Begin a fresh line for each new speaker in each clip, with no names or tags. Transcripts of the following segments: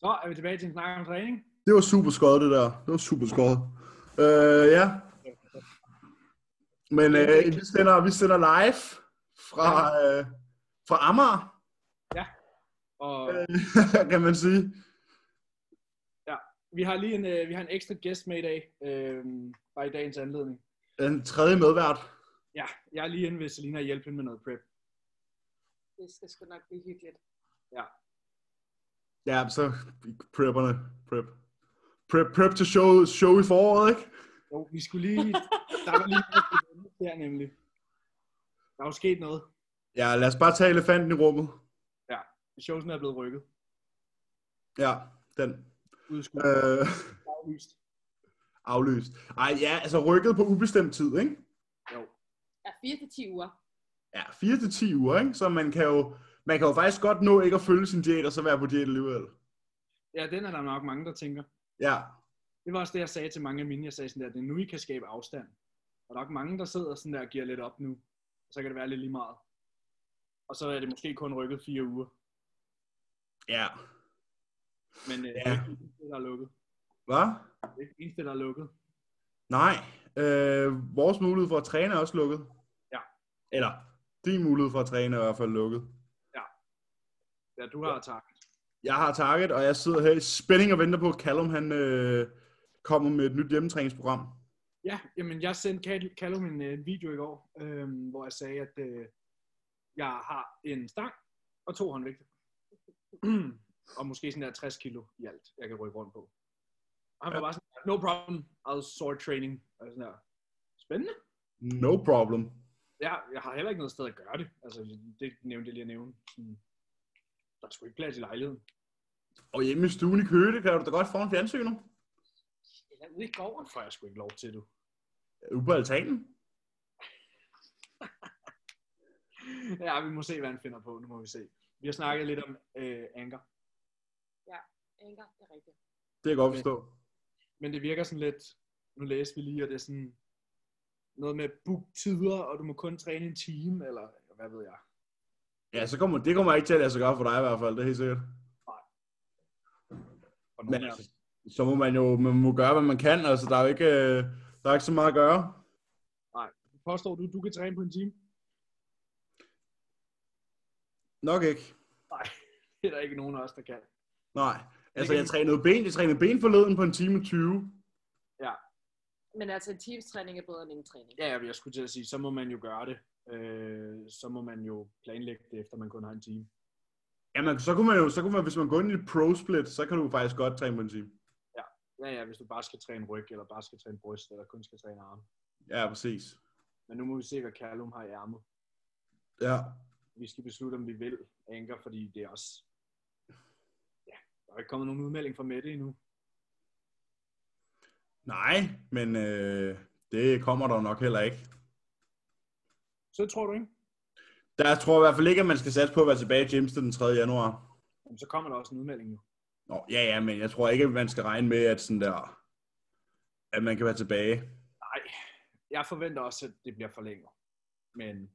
Så er vi tilbage til en snak om træning.
Det var super skåret, det der. Det var super skåret. Øh, ja. Men øh, vi, sender, vi sender live fra, øh, fra Amager,
Og
øh, kan man sige.
vi har lige en, øh, vi har en ekstra gæst med i dag. Øh, bare i dagens anledning.
En tredje medvært.
Ja, jeg er lige inde ved Selina og hjælpe hende med noget prep.
Det skal sgu nok blive hyggeligt.
Ja, så prepperne. Prep. Prep, prep til show, show i foråret, ikke?
Jo, vi skulle lige... Der var lige noget der nemlig. Der er jo sket noget.
Ja, lad os bare tage elefanten i rummet.
Showsen er blevet rykket.
Ja, den.
Udskudt.
Øh,
Aflyst.
aflyst. Ej, ja, altså rykket på ubestemt tid, ikke?
Jo.
Ja, 4 til 10 uger.
Ja, 4 til 10 uger, ikke? Så man kan jo, man kan jo faktisk godt nå ikke at følge sin diæt, og så være på diæt alligevel.
Ja, den er der nok mange, der tænker.
Ja,
Det var også det, jeg sagde til mange af mine. Jeg sagde sådan der, det er nu, I kan skabe afstand. Og der er nok mange, der sidder sådan der og giver lidt op nu. Og så kan det være lidt lige meget. Og så er det måske kun rykket fire uger.
ja.
Men øh,
Ja.
ja. det er ikke det eneste, der er lukket.
Hvad?
Det er ikke det eneste, der er lukket.
Nej, øh, vores mulighed for at træne er også lukket.
Ja.
Eller, din mulighed for at træne er i hvert fald lukket.
Ja, du har tak.
Jeg har Target, og jeg sidder her i spænding og venter på, at Callum han, øh, kommer med et nyt hjemmetræningsprogram.
Ja, jamen jeg sendte Kat- Callum en øh, video i går, øhm, hvor jeg sagde, at øh, jeg har en stang og to håndvægte. og måske sådan der 60 kilo i alt, jeg kan rykke rundt på. Og han var
Ja.
bare sådan, no problem, I'll sort training. Og jeg sådan der, spændende.
No
Mm.
problem.
Ja, jeg har heller ikke noget sted at gøre det. Altså, det nævnte jeg lige at nævne. Sådan, Der er sgu ikke plads i lejligheden.
Og hjemme i stuen i Køge, kan du da godt få en fjernsyner.
Eller ude i gården.
Det får jeg sgu ikke lov til, du.
Ude på altanen.
Ja, vi må se, hvad han finder på. Nu må vi se. Vi har snakket lidt om øh, anker.
Inger, det er rigtigt.
Det kan jeg godt
Okay.
forstå.
Men det virker sådan lidt, nu læste vi lige, og det er sådan noget med book tider, og du må kun træne en time, eller hvad ved jeg.
Ja, så kommer, det kommer ikke til at lade sig gøre for dig i hvert fald, det er helt sikkert.
Og
Men
nogle af
altså, så må man jo man må gøre, hvad man kan. Altså, der er jo ikke, øh, der er ikke så meget at gøre.
dem- påstår du, du kan træne på en time?
Nok ikke.
Det er der ikke nogen af os, der kan.
Nej. Altså,
kan
jeg
vi-
trænede ben, jeg trænede ben forleden på en time og 20.
Men altså, en times træning er bedre end ingen træning.
Ja, jeg skulle til at sige, så må man jo gøre det. Øh, så må man jo planlægge det, efter man kun har en time.
Jamen, så kunne man jo, så kunne man, hvis man går ind i et pro-split, så kan du faktisk godt træne på en time.
Ja, ja, hvis du bare skal træne ryg, eller bare skal træne bryst, eller kun skal træne arme.
Ja, præcis.
Men nu må vi se, hvad Callum har i ærmet.
Ja.
Vi skal beslutte, om vi vil anker, fordi det er også... Ja, der er ikke kommet nogen udmelding fra Mette endnu.
Nej, men øh, det kommer der nok heller ikke.
Så tror du ikke?
Der tror jeg i hvert fald ikke, at man skal satse på at være tilbage i Gymsted den 3. januar.
Jamen, så kommer der også en udmelding nu.
Nå, ja, ja, men jeg tror ikke, at man skal regne med, at sådan der, at man kan være tilbage.
Jeg forventer også, at det bliver forlænget. Men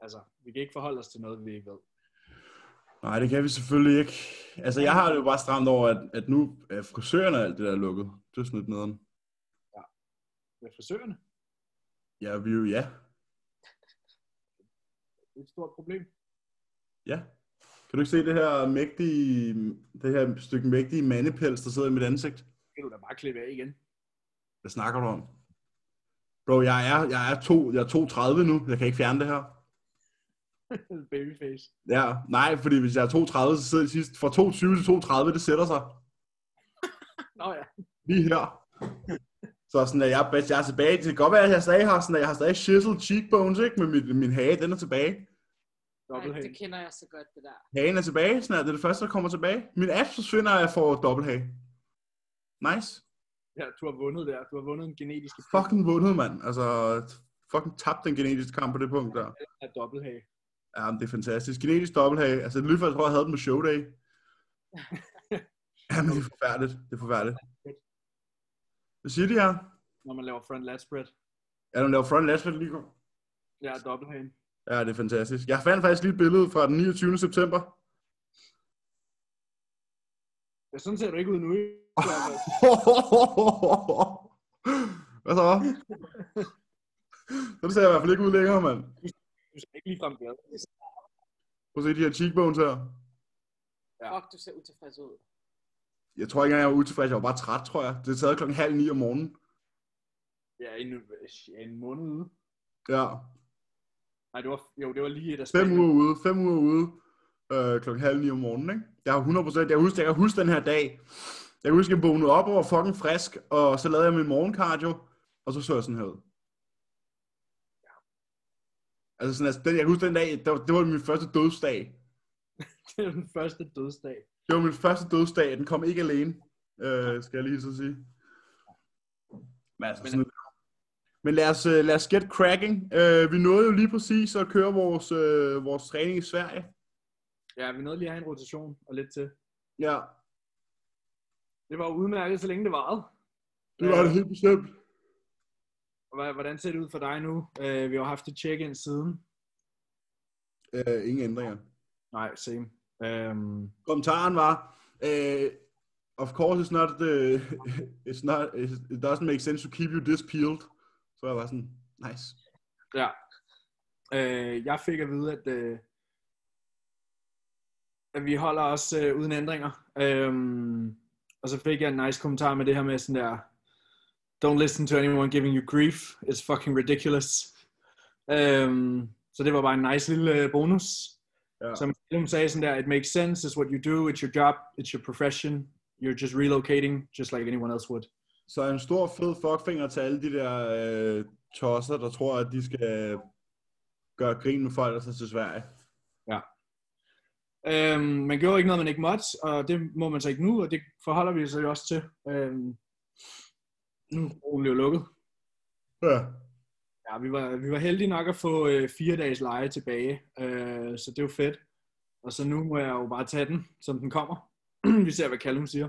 altså, vi kan ikke forholde os til noget, vi ikke ved.
Nej, det kan vi selvfølgelig ikke. Altså, jeg har det jo bare stramt over, at, at nu er frisøren og alt det der lukket. Det er sådan lidt nederen.
Med frisørerne,
Ja, vi er jo ja.
det er et stort problem.
Ja. Kan du ikke se det her mægtige, det her stykke mægtige mandepels, der sidder i mit ansigt?
Det kan du da bare klippe af igen.
Hvad snakker du om? Bro, jeg er, jeg er, to, jeg er 32 nu. Jeg kan ikke fjerne det her.
Babyface.
Ja, nej, fordi hvis jeg er 32, så sidder jeg sidst fra 22 til 32, det sætter sig
Nå ja.
lige her. Så sådan, at jeg, er bedst- jeg er tilbage. Det kan godt være, at jeg stadig har, sådan, at jeg har stadig chiseled cheekbones, ikke? Men min, min hage, den er tilbage.
Nej,
Dobbelthage.
det kender jeg så godt, det der.
Hagen er tilbage, sådan er det, det første, der kommer tilbage. Min app forsvinder, og jeg får dobbelthage. Nice.
Ja, du har vundet der. Du har vundet en genetisk
Fucking vundet, mand. Altså, fucking tabt den genetiske kamp på det punkt der.
af dobbelthage.
Ja, men det er fantastisk. Genetisk dobbelthage. Altså, det lyder faktisk, tror jeg, jeg havde den på showday. Jamen, det er forfærdeligt. Det er forfærdeligt. Hvad siger de her?
Når man laver front lat spread.
Ja, de laver front last for lige går.
Ja, dobbelthagen.
Ja, det er fantastisk. Jeg fandt faktisk lige et billede fra den 29. september.
Ja, sådan ser du ikke ud nu. ikke?
Hvad så? Sådan ser jeg i hvert fald ikke ud længere, mand.
Du ser ikke ligefrem glad. ud.
Prøv at se de her cheekbones her.
Ja.
Fuck, du ser utilfreds ud.
Jeg tror ikke engang, jeg var utilfreds. Jeg var bare træt, tror jeg. Det sad klokken halv ni om morgenen.
Ja, en, ja, en måned ude.
Ja.
Nej, det var, jo, det var lige et af
Fem
Spanien.
uger ude. Fem uger ude. Øh, klokken halv ni om morgenen, ikke? Jeg har 100 Jeg husker, jeg kan huske den her dag. Jeg kan huske, jeg vågnede op og var fucking frisk. Og så lavede jeg min morgencardio. Og så så jeg sådan her ud. Altså, sådan, altså den, jeg kan huske den dag, det var, det var min første dødsdag.
Det var den første dødsdag.
Det var min første dødsdag, den kom ikke alene, øh, skal jeg lige så sige. Men, altså,
Men-
sådan, men lad, os, øh, lad os get cracking. Øh, vi nåede jo lige præcis at køre vores, øh, vores træning i Sverige.
Ja, vi nåede lige at have en rotation og lidt til.
Ja,
Det var jo udmærket, så længe det varede.
det var
Øh,
det helt bestemt.
Hva- Hvordan ser det ud for dig nu? Øh, vi har haft et check-in siden.
Øh, ingen ændringer.
Nej, same. Øhm,
Kommentaren var, øh, of course it's not, uh, it's not, it doesn't make sense to keep you this peeled. Så jeg var sådan, nice.
ja. Øh, jeg fik at vide, at, øh, at vi holder os øh, uden ændringer. Øhm, og så fik jeg en nice kommentar med det her med sådan der, Don't listen to anyone giving you grief. It's fucking ridiculous. Øhm, så det var bare en nice lille øh, bonus.
Ja.
Som Willem sagde sådan der, it makes sense, it's what you do, it's your job, it's your profession, you're just relocating, just like anyone else would.
Så en stor fed fuckfinger til alle de der øh, tosser, der tror, at de skal gøre grin med folk, der tager til Sverige.
Øhm, man gjorde ikke noget, man ikke måtte, og det må man så ikke nu, og det forholder vi os jo også til. Øhm, nu er broen jo lukket.
Ja.
Ja, vi var, vi var heldige nok at få øh, fire dages leje tilbage, øh, så det var fedt. Og så nu må jeg jo bare tage den, som den kommer. vi ser, hvad Callum siger.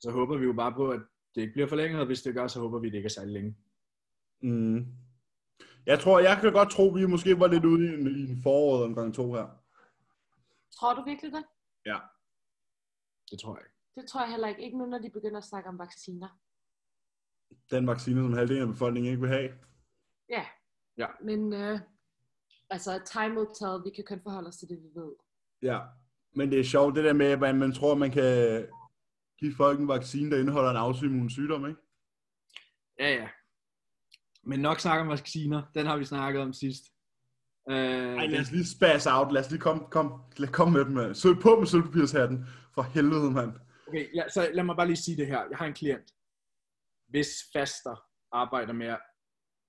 Så håber vi jo bare på, at det ikke bliver forlænget, og hvis det gør, så håber vi, at det ikke er særlig længe.
Mm. Jeg tror, jeg kan godt tro, at vi måske var lidt ude i en, i en foråret omgang to her.
Tror du virkelig det?
Ja.
Det tror jeg ikke.
Det tror jeg heller ikke. Ikke nu, når de begynder at snakke om vacciner.
Den vaccine, som halvdelen af befolkningen ikke vil have.
Ja.
Ja.
Men øh, altså, time will tell. Vi kan kun forholde os til det, vi ved.
Ja. Men det er sjovt, det der med, at man tror, man kan give folk en vaccine, der indeholder en autoimmun sygdom, ikke?
Ja, ja. Men nok snak om vacciner. Den har vi snakket om sidst. Øh,
Ej,
den-
lad os lige spas out. Lad os lige komme kom, kom med den, mand. Søg på med sølvpapirshatten. For helvede, mand.
Okay, ja, så lad mig bare lige sige det her. Jeg har en klient, hvis faster arbejder med at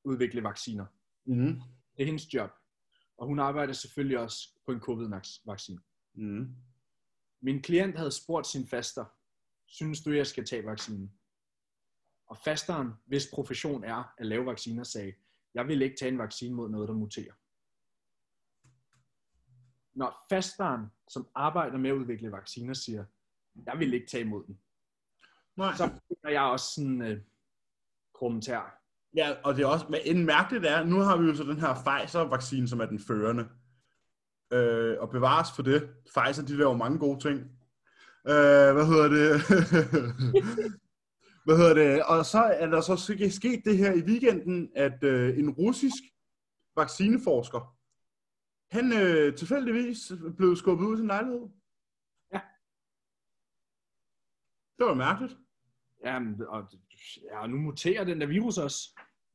udvikle vacciner.
Mm.
Det er hendes job. Og hun arbejder selvfølgelig også på en covid-vaccine.
Mm.
Min klient havde spurgt sin faster, synes du, jeg skal tage vaccinen? Og fasteren, hvis profession er at lave vacciner, sagde, jeg vil ikke tage en vaccine mod noget, der muterer. Når fasteren, som arbejder med at udvikle vacciner, siger, jeg vil ikke tage imod den,
Nej.
så finder jeg også sådan en øh, kommentar.
Ja, og det er også, men en mærkeligt er, nu har vi jo så den her Pfizer-vaccine, som er den førende. Øh, og bevares for det. Pfizer, de laver mange gode ting. Øh, hvad hedder det? hvad hedder det? Og så er der så ske- sket det her i weekenden, at øh, en russisk vaccineforsker, han øh, tilfældigvis blev skubbet ud af sin lejlighed.
Ja.
Det var mærkeligt.
Jamen, og, ja, og nu muterer den der virus også.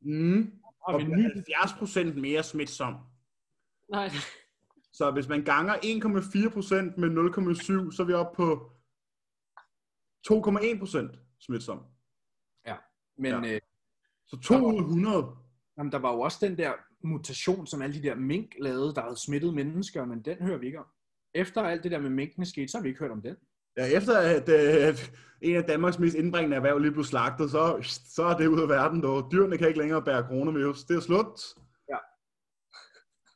Mm.
Og
Og
vi en ny,
70% mere smitsom.
Nej,
Så hvis man ganger 1,4% med 0,7, så er vi oppe på 2,1% smitsom.
men ja. øh,
Så 2 ud af 100.
jamen, der var jo også den der mutation, som alle de der mink lavede, der havde smittet mennesker, men den hører vi ikke om. Efter alt det der med minkene skete, så har vi ikke hørt om den.
Ja, efter at, øh, at en af Danmarks mest indbringende erhverv lige blev slagtet, så, så er det ud af verden, dog. Dyrene kan ikke længere bære coronavirus. Det er slut.
Ja.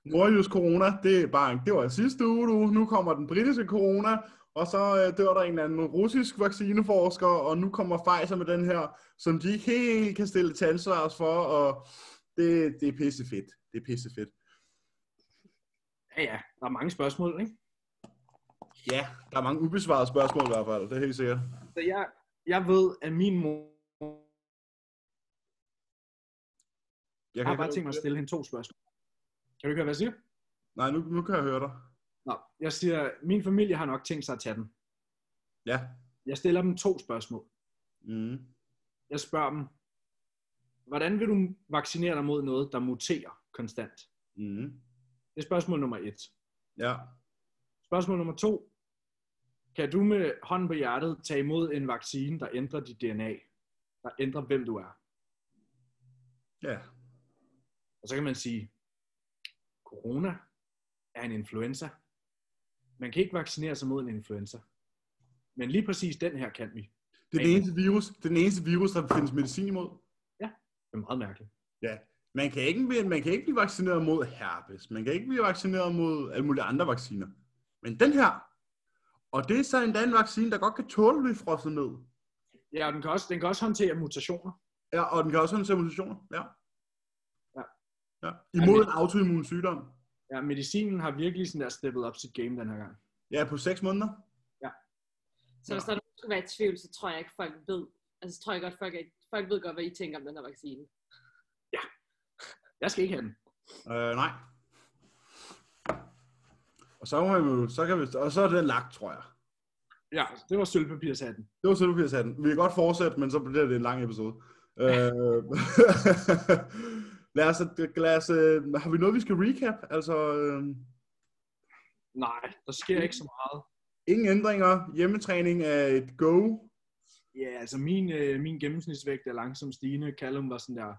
Nordjys corona, det, er bare, en- det var sidste uge, du. Nu kommer den britiske corona, og så øh, dør der en eller anden russisk vaccineforsker, og nu kommer Pfizer med den her, som de ikke helt kan stille til ansvar for, og det, det er pissefedt. Det er pissefedt.
Ja, ja, der er mange spørgsmål, ikke?
Ja, der er mange ubesvarede spørgsmål i hvert fald, det er helt sikkert.
Så jeg, jeg ved, at min mor...
Jeg
Jeg
kan
har
ikke
bare tænkt mig at stille hende to spørgsmål. Kan du ikke høre, hvad jeg siger?
Nej, nu, nu kan jeg høre dig.
Nå, jeg siger, min familie har nok tænkt sig at tage den.
Ja.
Jeg stiller dem to spørgsmål.
Mm.
Jeg spørger dem, hvordan vil du vaccinere dig mod noget, der muterer konstant?
Mm.
Det er spørgsmål nummer et.
Ja.
Spørgsmål nummer to. Kan du med hånden på hjertet tage imod en vaccine, der ændrer dit DNA? Der ændrer, hvem du er?
Ja.
Og så kan man sige, corona er en influenza. Man kan ikke vaccinere sig mod en influenza. Men lige præcis den her kan vi.
Det er den eneste virus, det er den eneste virus, der findes medicin imod.
Det er meget mærkeligt.
Man kan, ikke, blive- man kan ikke blive vaccineret mod herpes. Man kan ikke blive vaccineret mod alle mulige andre vacciner. Men den her, og det er så endda en vaccine, der godt kan tåle at blive frosset ned.
Ja, og den kan også, den kan også håndtere mutationer.
Ja, og den kan også håndtere mutationer. Ja.
Ja.
ja. Imod
Ja,
en autoimmun sygdom.
Ja, medicinen har virkelig sådan der steppet op sit game den her gang.
Ja, på 6 måneder.
Så hvis der er nogen, der skulle være i tvivl, så tror jeg ikke, folk ved. Altså, så tror jeg godt, folk, er, folk ved godt, hvad I tænker om den her vaccine.
Jeg skal ikke have den.
Øh, nej. Og så, må man jo, så kan vi, og så er den lagt, tror jeg.
Ja, det var sølvpapirshatten.
Det var sådan, vi har sat den. Vi kan godt fortsætte, men så bliver det en lang episode. øh, lad os, lad os, øh, har vi noget, vi skal recap? Altså, øh,
Nej, der sker ikke så meget.
ingen ændringer. Hjemmetræning er et go.
Ja, altså min, øh, min gennemsnitsvægt er langsomt stigende. Callum var sådan der,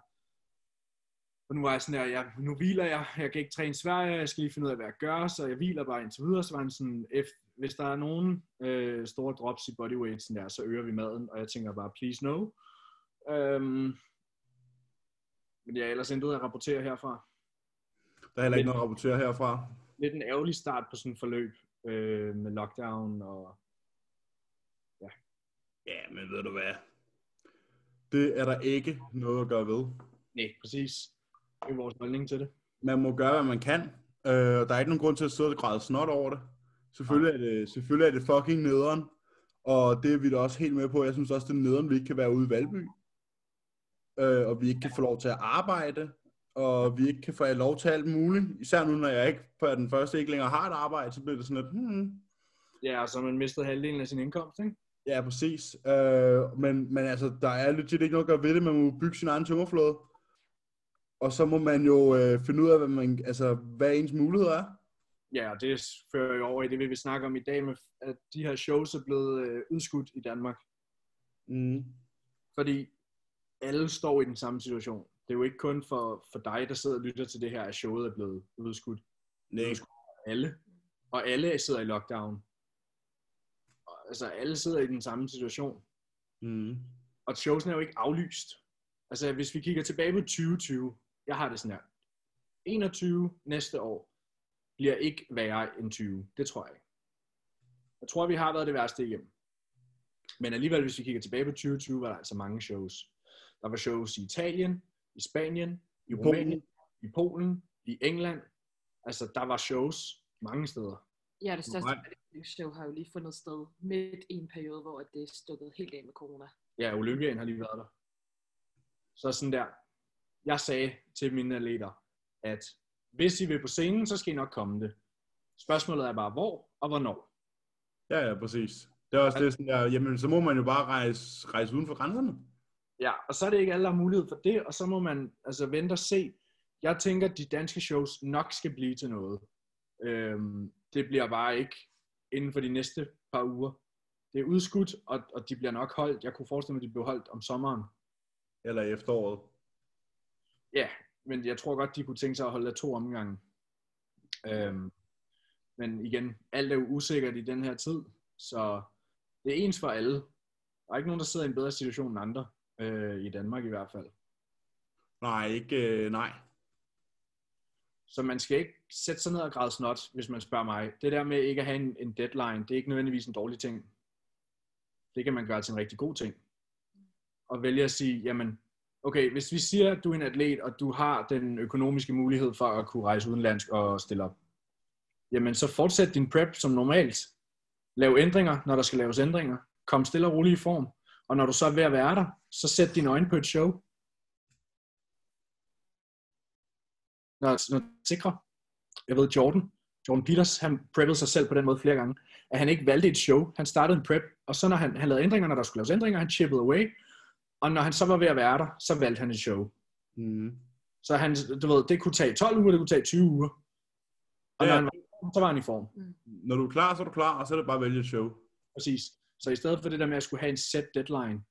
og nu var jeg sådan der, ja, nu hviler jeg, jeg kan ikke træne Sverige, jeg skal lige finde ud af, hvad jeg gør, så jeg hviler bare indtil videre, så var han sådan, F, hvis der er nogen øh, store drops i bodyweight, sådan der, så øger vi maden, og jeg tænker bare, please no. Øhm, men ja, ellers intet at rapportere herfra.
Der er heller ikke noget at rapportere herfra.
Lidt en ærgerlig start på sådan et forløb øh, med lockdown og
Ja, men ved du hvad? Det er der ikke noget at gøre ved.
nej, præcis. Det er vores holdning til det.
Man må gøre, hvad man kan. Øh, og der er ikke nogen grund til at sidde og græde snot over det. Selvfølgelig er det, selvfølgelig er det fucking nederen. Og det er vi da også helt med på. Jeg synes også, det er nederen, vi ikke kan være ude i Valby. Øh, og vi ikke kan få lov til at arbejde. Og vi ikke kan få lov til alt muligt. Især nu, når jeg ikke for den første ikke længere har et arbejde, så bliver det sådan lidt, hmm,
Ja, og så har man mistet halvdelen af sin indkomst, ikke?
Ja, præcis. Øh, men, men altså, der er legit ikke noget at gøre ved det. Man må bygge sin egen tømmerflåde. Og så må man jo øh, finde ud af, hvad, man, altså, hvad ens muligheder er.
Ja, og det fører jo over i det, vi vil snakke om i dag, med at de her shows er blevet øh, udskudt i Danmark.
Mm.
Fordi alle står i den samme situation. Det er jo ikke kun for, for dig, der sidder og lytter til det her, at showet er blevet udskudt.
Nej.
Alle. Og alle sidder i lockdown. Og, altså, alle sidder i den samme situation.
Mm.
Og showsen er jo ikke aflyst. Altså, hvis vi kigger tilbage på 2020, jeg har det sådan her. 21 næste år bliver ikke værre end 20. Det tror jeg ikke. Jeg tror, vi har været det værste igennem. Men alligevel, hvis vi kigger tilbage på 2020, var der altså mange shows. Der var shows i Italien, i Spanien, i
Polen.
Rumænien, i Polen, i England. Altså, der var shows mange steder.
Ja, det største
Nej.
show har jo lige fundet sted midt i en periode, hvor det er stukket helt af med corona.
Ja, Olympian har lige været der. Så sådan der. Jeg sagde til mine atleter, at hvis I vil på scenen, så skal I nok komme det. Spørgsmålet er bare, hvor og hvornår.
Ja, ja, præcis. Det er også det sådan der, jamen, så må man jo bare rejse, rejse uden for grænserne.
Ja, og så er det ikke alle, der har mulighed for det, og så må man altså vente og se. Jeg tænker, at de danske shows nok skal blive til noget. Øhm, det bliver bare ikke inden for de næste par uger. Det er udskudt, og, og de bliver nok holdt. Jeg kunne forestille mig, at de blev holdt om sommeren.
Eller i efteråret.
Ja, men jeg tror godt, de kunne tænke sig at holde af to omgange. Øhm, men igen, alt er jo usikkert i den her tid, så det er ens for alle. Der er ikke nogen, der sidder i en bedre situation end andre, øh, i Danmark i hvert fald.
Nej, ikke, øh, nej.
Så man skal ikke sætte sig ned og græde snot, hvis man spørger mig. Det der med ikke at have en, en deadline, det er ikke nødvendigvis en dårlig ting. Det kan man gøre til en rigtig god ting. Og vælge at sige, jamen, okay, hvis vi siger, at du er en atlet, og du har den økonomiske mulighed for at kunne rejse udenlandsk og stille op, jamen så fortsæt din prep som normalt. Lav ændringer, når der skal laves ændringer. Kom stille og roligt i form. Og når du så er ved at være der, så sæt dine øjne på et show. Når, når du er sikre. Jeg ved, Jordan, Jordan Peters, han preppede sig selv på den måde flere gange, at han ikke valgte et show. Han startede en prep, og så når han, han lavede ændringer, når der skulle laves ændringer, han chippede away. Og når han så var ved at være der, så valgte han et show.
Mm.
Så han, du ved, det kunne tage 12 uger, det kunne tage 20 uger. Og
Ja.
ja. når han var, i form, så var han i form.
Når du er klar, så er du klar, og så er det bare at vælge et show.
Præcis. Så i stedet for det der med at skulle have en set deadline,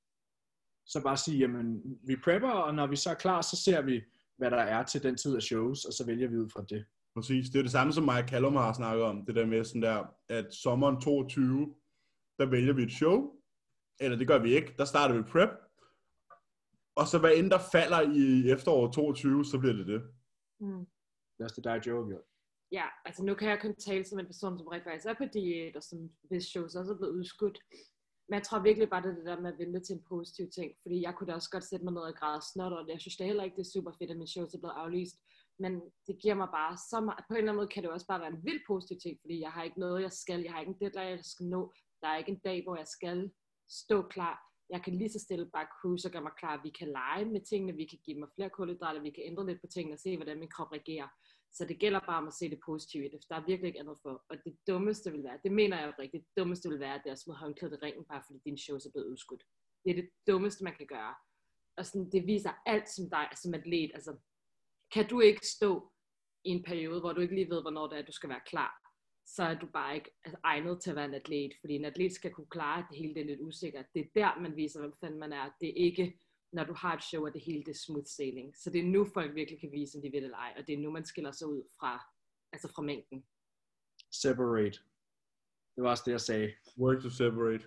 så bare sige, jamen, vi prepper, og når vi så er klar, så ser vi, hvad der er til den tid af shows, og så vælger vi ud fra det.
Præcis. Det er det samme, som Maja Callum har snakket om. Det der med sådan der, at sommeren 22, der vælger vi et show. Eller det gør vi ikke. Der starter vi prep. Og så hvad end der falder i efteråret 22, så bliver det det.
Mm.
Det er også det, der er Joe har gjort.
Ja, altså nu kan jeg kun tale som en person, som rent faktisk er på diæt, og som hvis shows også er blevet udskudt. Men jeg tror virkelig bare, det er det der med at vente til en positiv ting, fordi jeg kunne da også godt sætte mig ned og græde snot, og jeg synes da heller ikke, det er super fedt, at min shows er blevet aflyst. Men det giver mig bare så meget. På en eller anden måde kan det også bare være en vild positiv ting, fordi jeg har ikke noget, jeg skal. Jeg har ikke en deadline, jeg skal nå. Der er ikke en dag, hvor jeg skal stå klar. Jeg kan lige så stille bare cruise og gøre mig klar. Vi kan lege med tingene, vi kan give mig flere kulhydrater, vi kan ændre lidt på tingene og se, hvordan min krop reagerer. Så det gælder bare om at se det positive i det, for der er virkelig ikke andet for. Og det dummeste vil være, det mener jeg rigtigt, det dummeste vil være, at det er at smide håndklædet i ringen, bare fordi din show er blevet udskudt. Det er det dummeste, man kan gøre. Og sådan, det viser alt som dig som atlet. Altså, kan du ikke stå i en periode, hvor du ikke lige ved, hvornår det er, du skal være klar, så er du bare ikke altså, egnet til at være en atlet. Fordi en atlet skal kunne klare, at det hele det er lidt usikkert. Det er der, man viser, hvem fanden man er. Det er ikke når du har et show, og det hele det er smooth sailing. Så det er nu, folk virkelig kan vise, om de vil eller ej, og det er nu, man skiller sig ud fra, altså fra mængden.
Separate. Det var også det, jeg sagde.
Work to separate.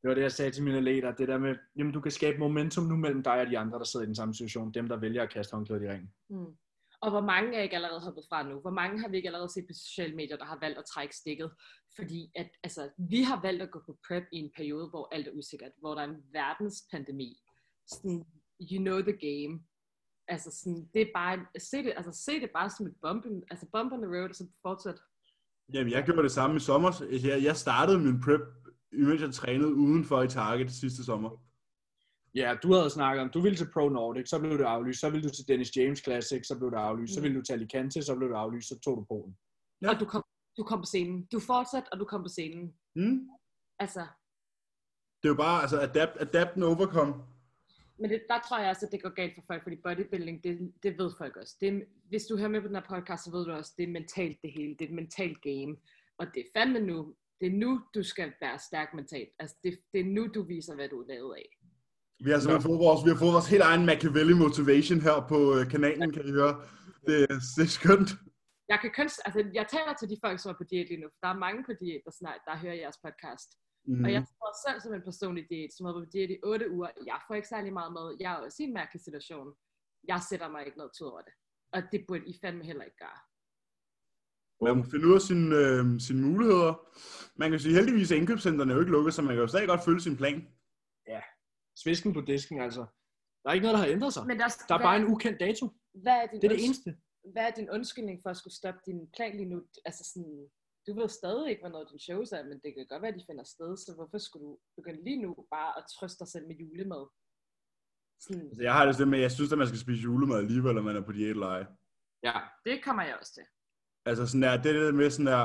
Det var det, jeg sagde til mine leder. Det der med, jamen du kan skabe momentum nu mellem dig og de andre, der sidder i den samme situation. Dem, der vælger at kaste håndklædet i ringen.
Mm. Og hvor mange er ikke allerede hoppet fra nu? Hvor mange har vi ikke allerede set på sociale medier, der har valgt at trække stikket? Fordi at, altså, vi har valgt at gå på prep i en periode, hvor alt er usikkert, hvor der er en verdenspandemi. Sådan, you know the game. Altså, sådan, det er bare, se det, altså, se det bare som et bump, in, altså bump on the road, og så fortsæt.
Jamen, jeg gjorde det samme i sommer. Jeg, jeg startede min prep, imens jeg trænede udenfor i Target sidste sommer.
Ja, du havde snakket om, du ville til Pro Nordic, så blev det aflyst. Så ville du til Dennis James Classic, så blev det aflyst. Så
Mm.
ville du til Alicante, så blev det aflyst. Så tog du Polen.
Ja.
Ja. Og du kom, du kom på scenen. Du fortsat, og du kom på scenen.
Hmm?
Altså,
Det er jo bare, altså, adapt, adapt and overcome.
men det, der tror jeg også, at det går galt for folk, fordi bodybuilding, det, det ved folk også. Det, er- hvis du hører med på den her podcast, så ved du også, det er mentalt det hele. Det er et mentalt game. Og det er fandme nu. Det er nu, du skal være stærk mentalt. Altså, det, det er nu, du viser, hvad du er lavet af.
Vi har simpelthen fået vores, vi har fået vores helt egen Machiavelli motivation her på øh, kanalen, kan I høre. Det, er- det er skønt.
Jeg, kan kun, altså, jeg taler til de folk, som er på diæt lige nu, for der er mange på diæt, der, snart, der hører jeres podcast.
Mm.
Og jeg står selv som en personlig diæt, som har været på diæt i 8 uger. Jeg får ikke særlig meget mad. Jeg er også i en mærkelig situation. Jeg sætter mig ikke noget tid over det. Og det burde I fandme heller ikke gøre.
Man må finde ud af sine, øh, sine muligheder. Man kan sige, heldigvis er indkøbscenterne jo ikke lukket, så man kan jo stadig godt følge sin plan.
Svisken på disken, altså. Der er ikke noget, der har ændret sig.
Men der,
Der er bare en ukendt dato.
hvad, er din
Det er det eneste.
hvad er din undskyldning for at skulle stoppe din plan lige nu? Altså sådan, du ved stadig ikke, hvornår din shows er, men det kan godt være, at de finder sted. Så hvorfor skulle du begynde lige nu bare at trøste dig selv med julemad? Sådan,
Altså, jeg har det sådan med, at jeg synes, at man skal spise julemad alligevel, når man er på diæt eller ej.
Ja.
det kommer jeg også til.
Altså sådan der, det der med sådan der,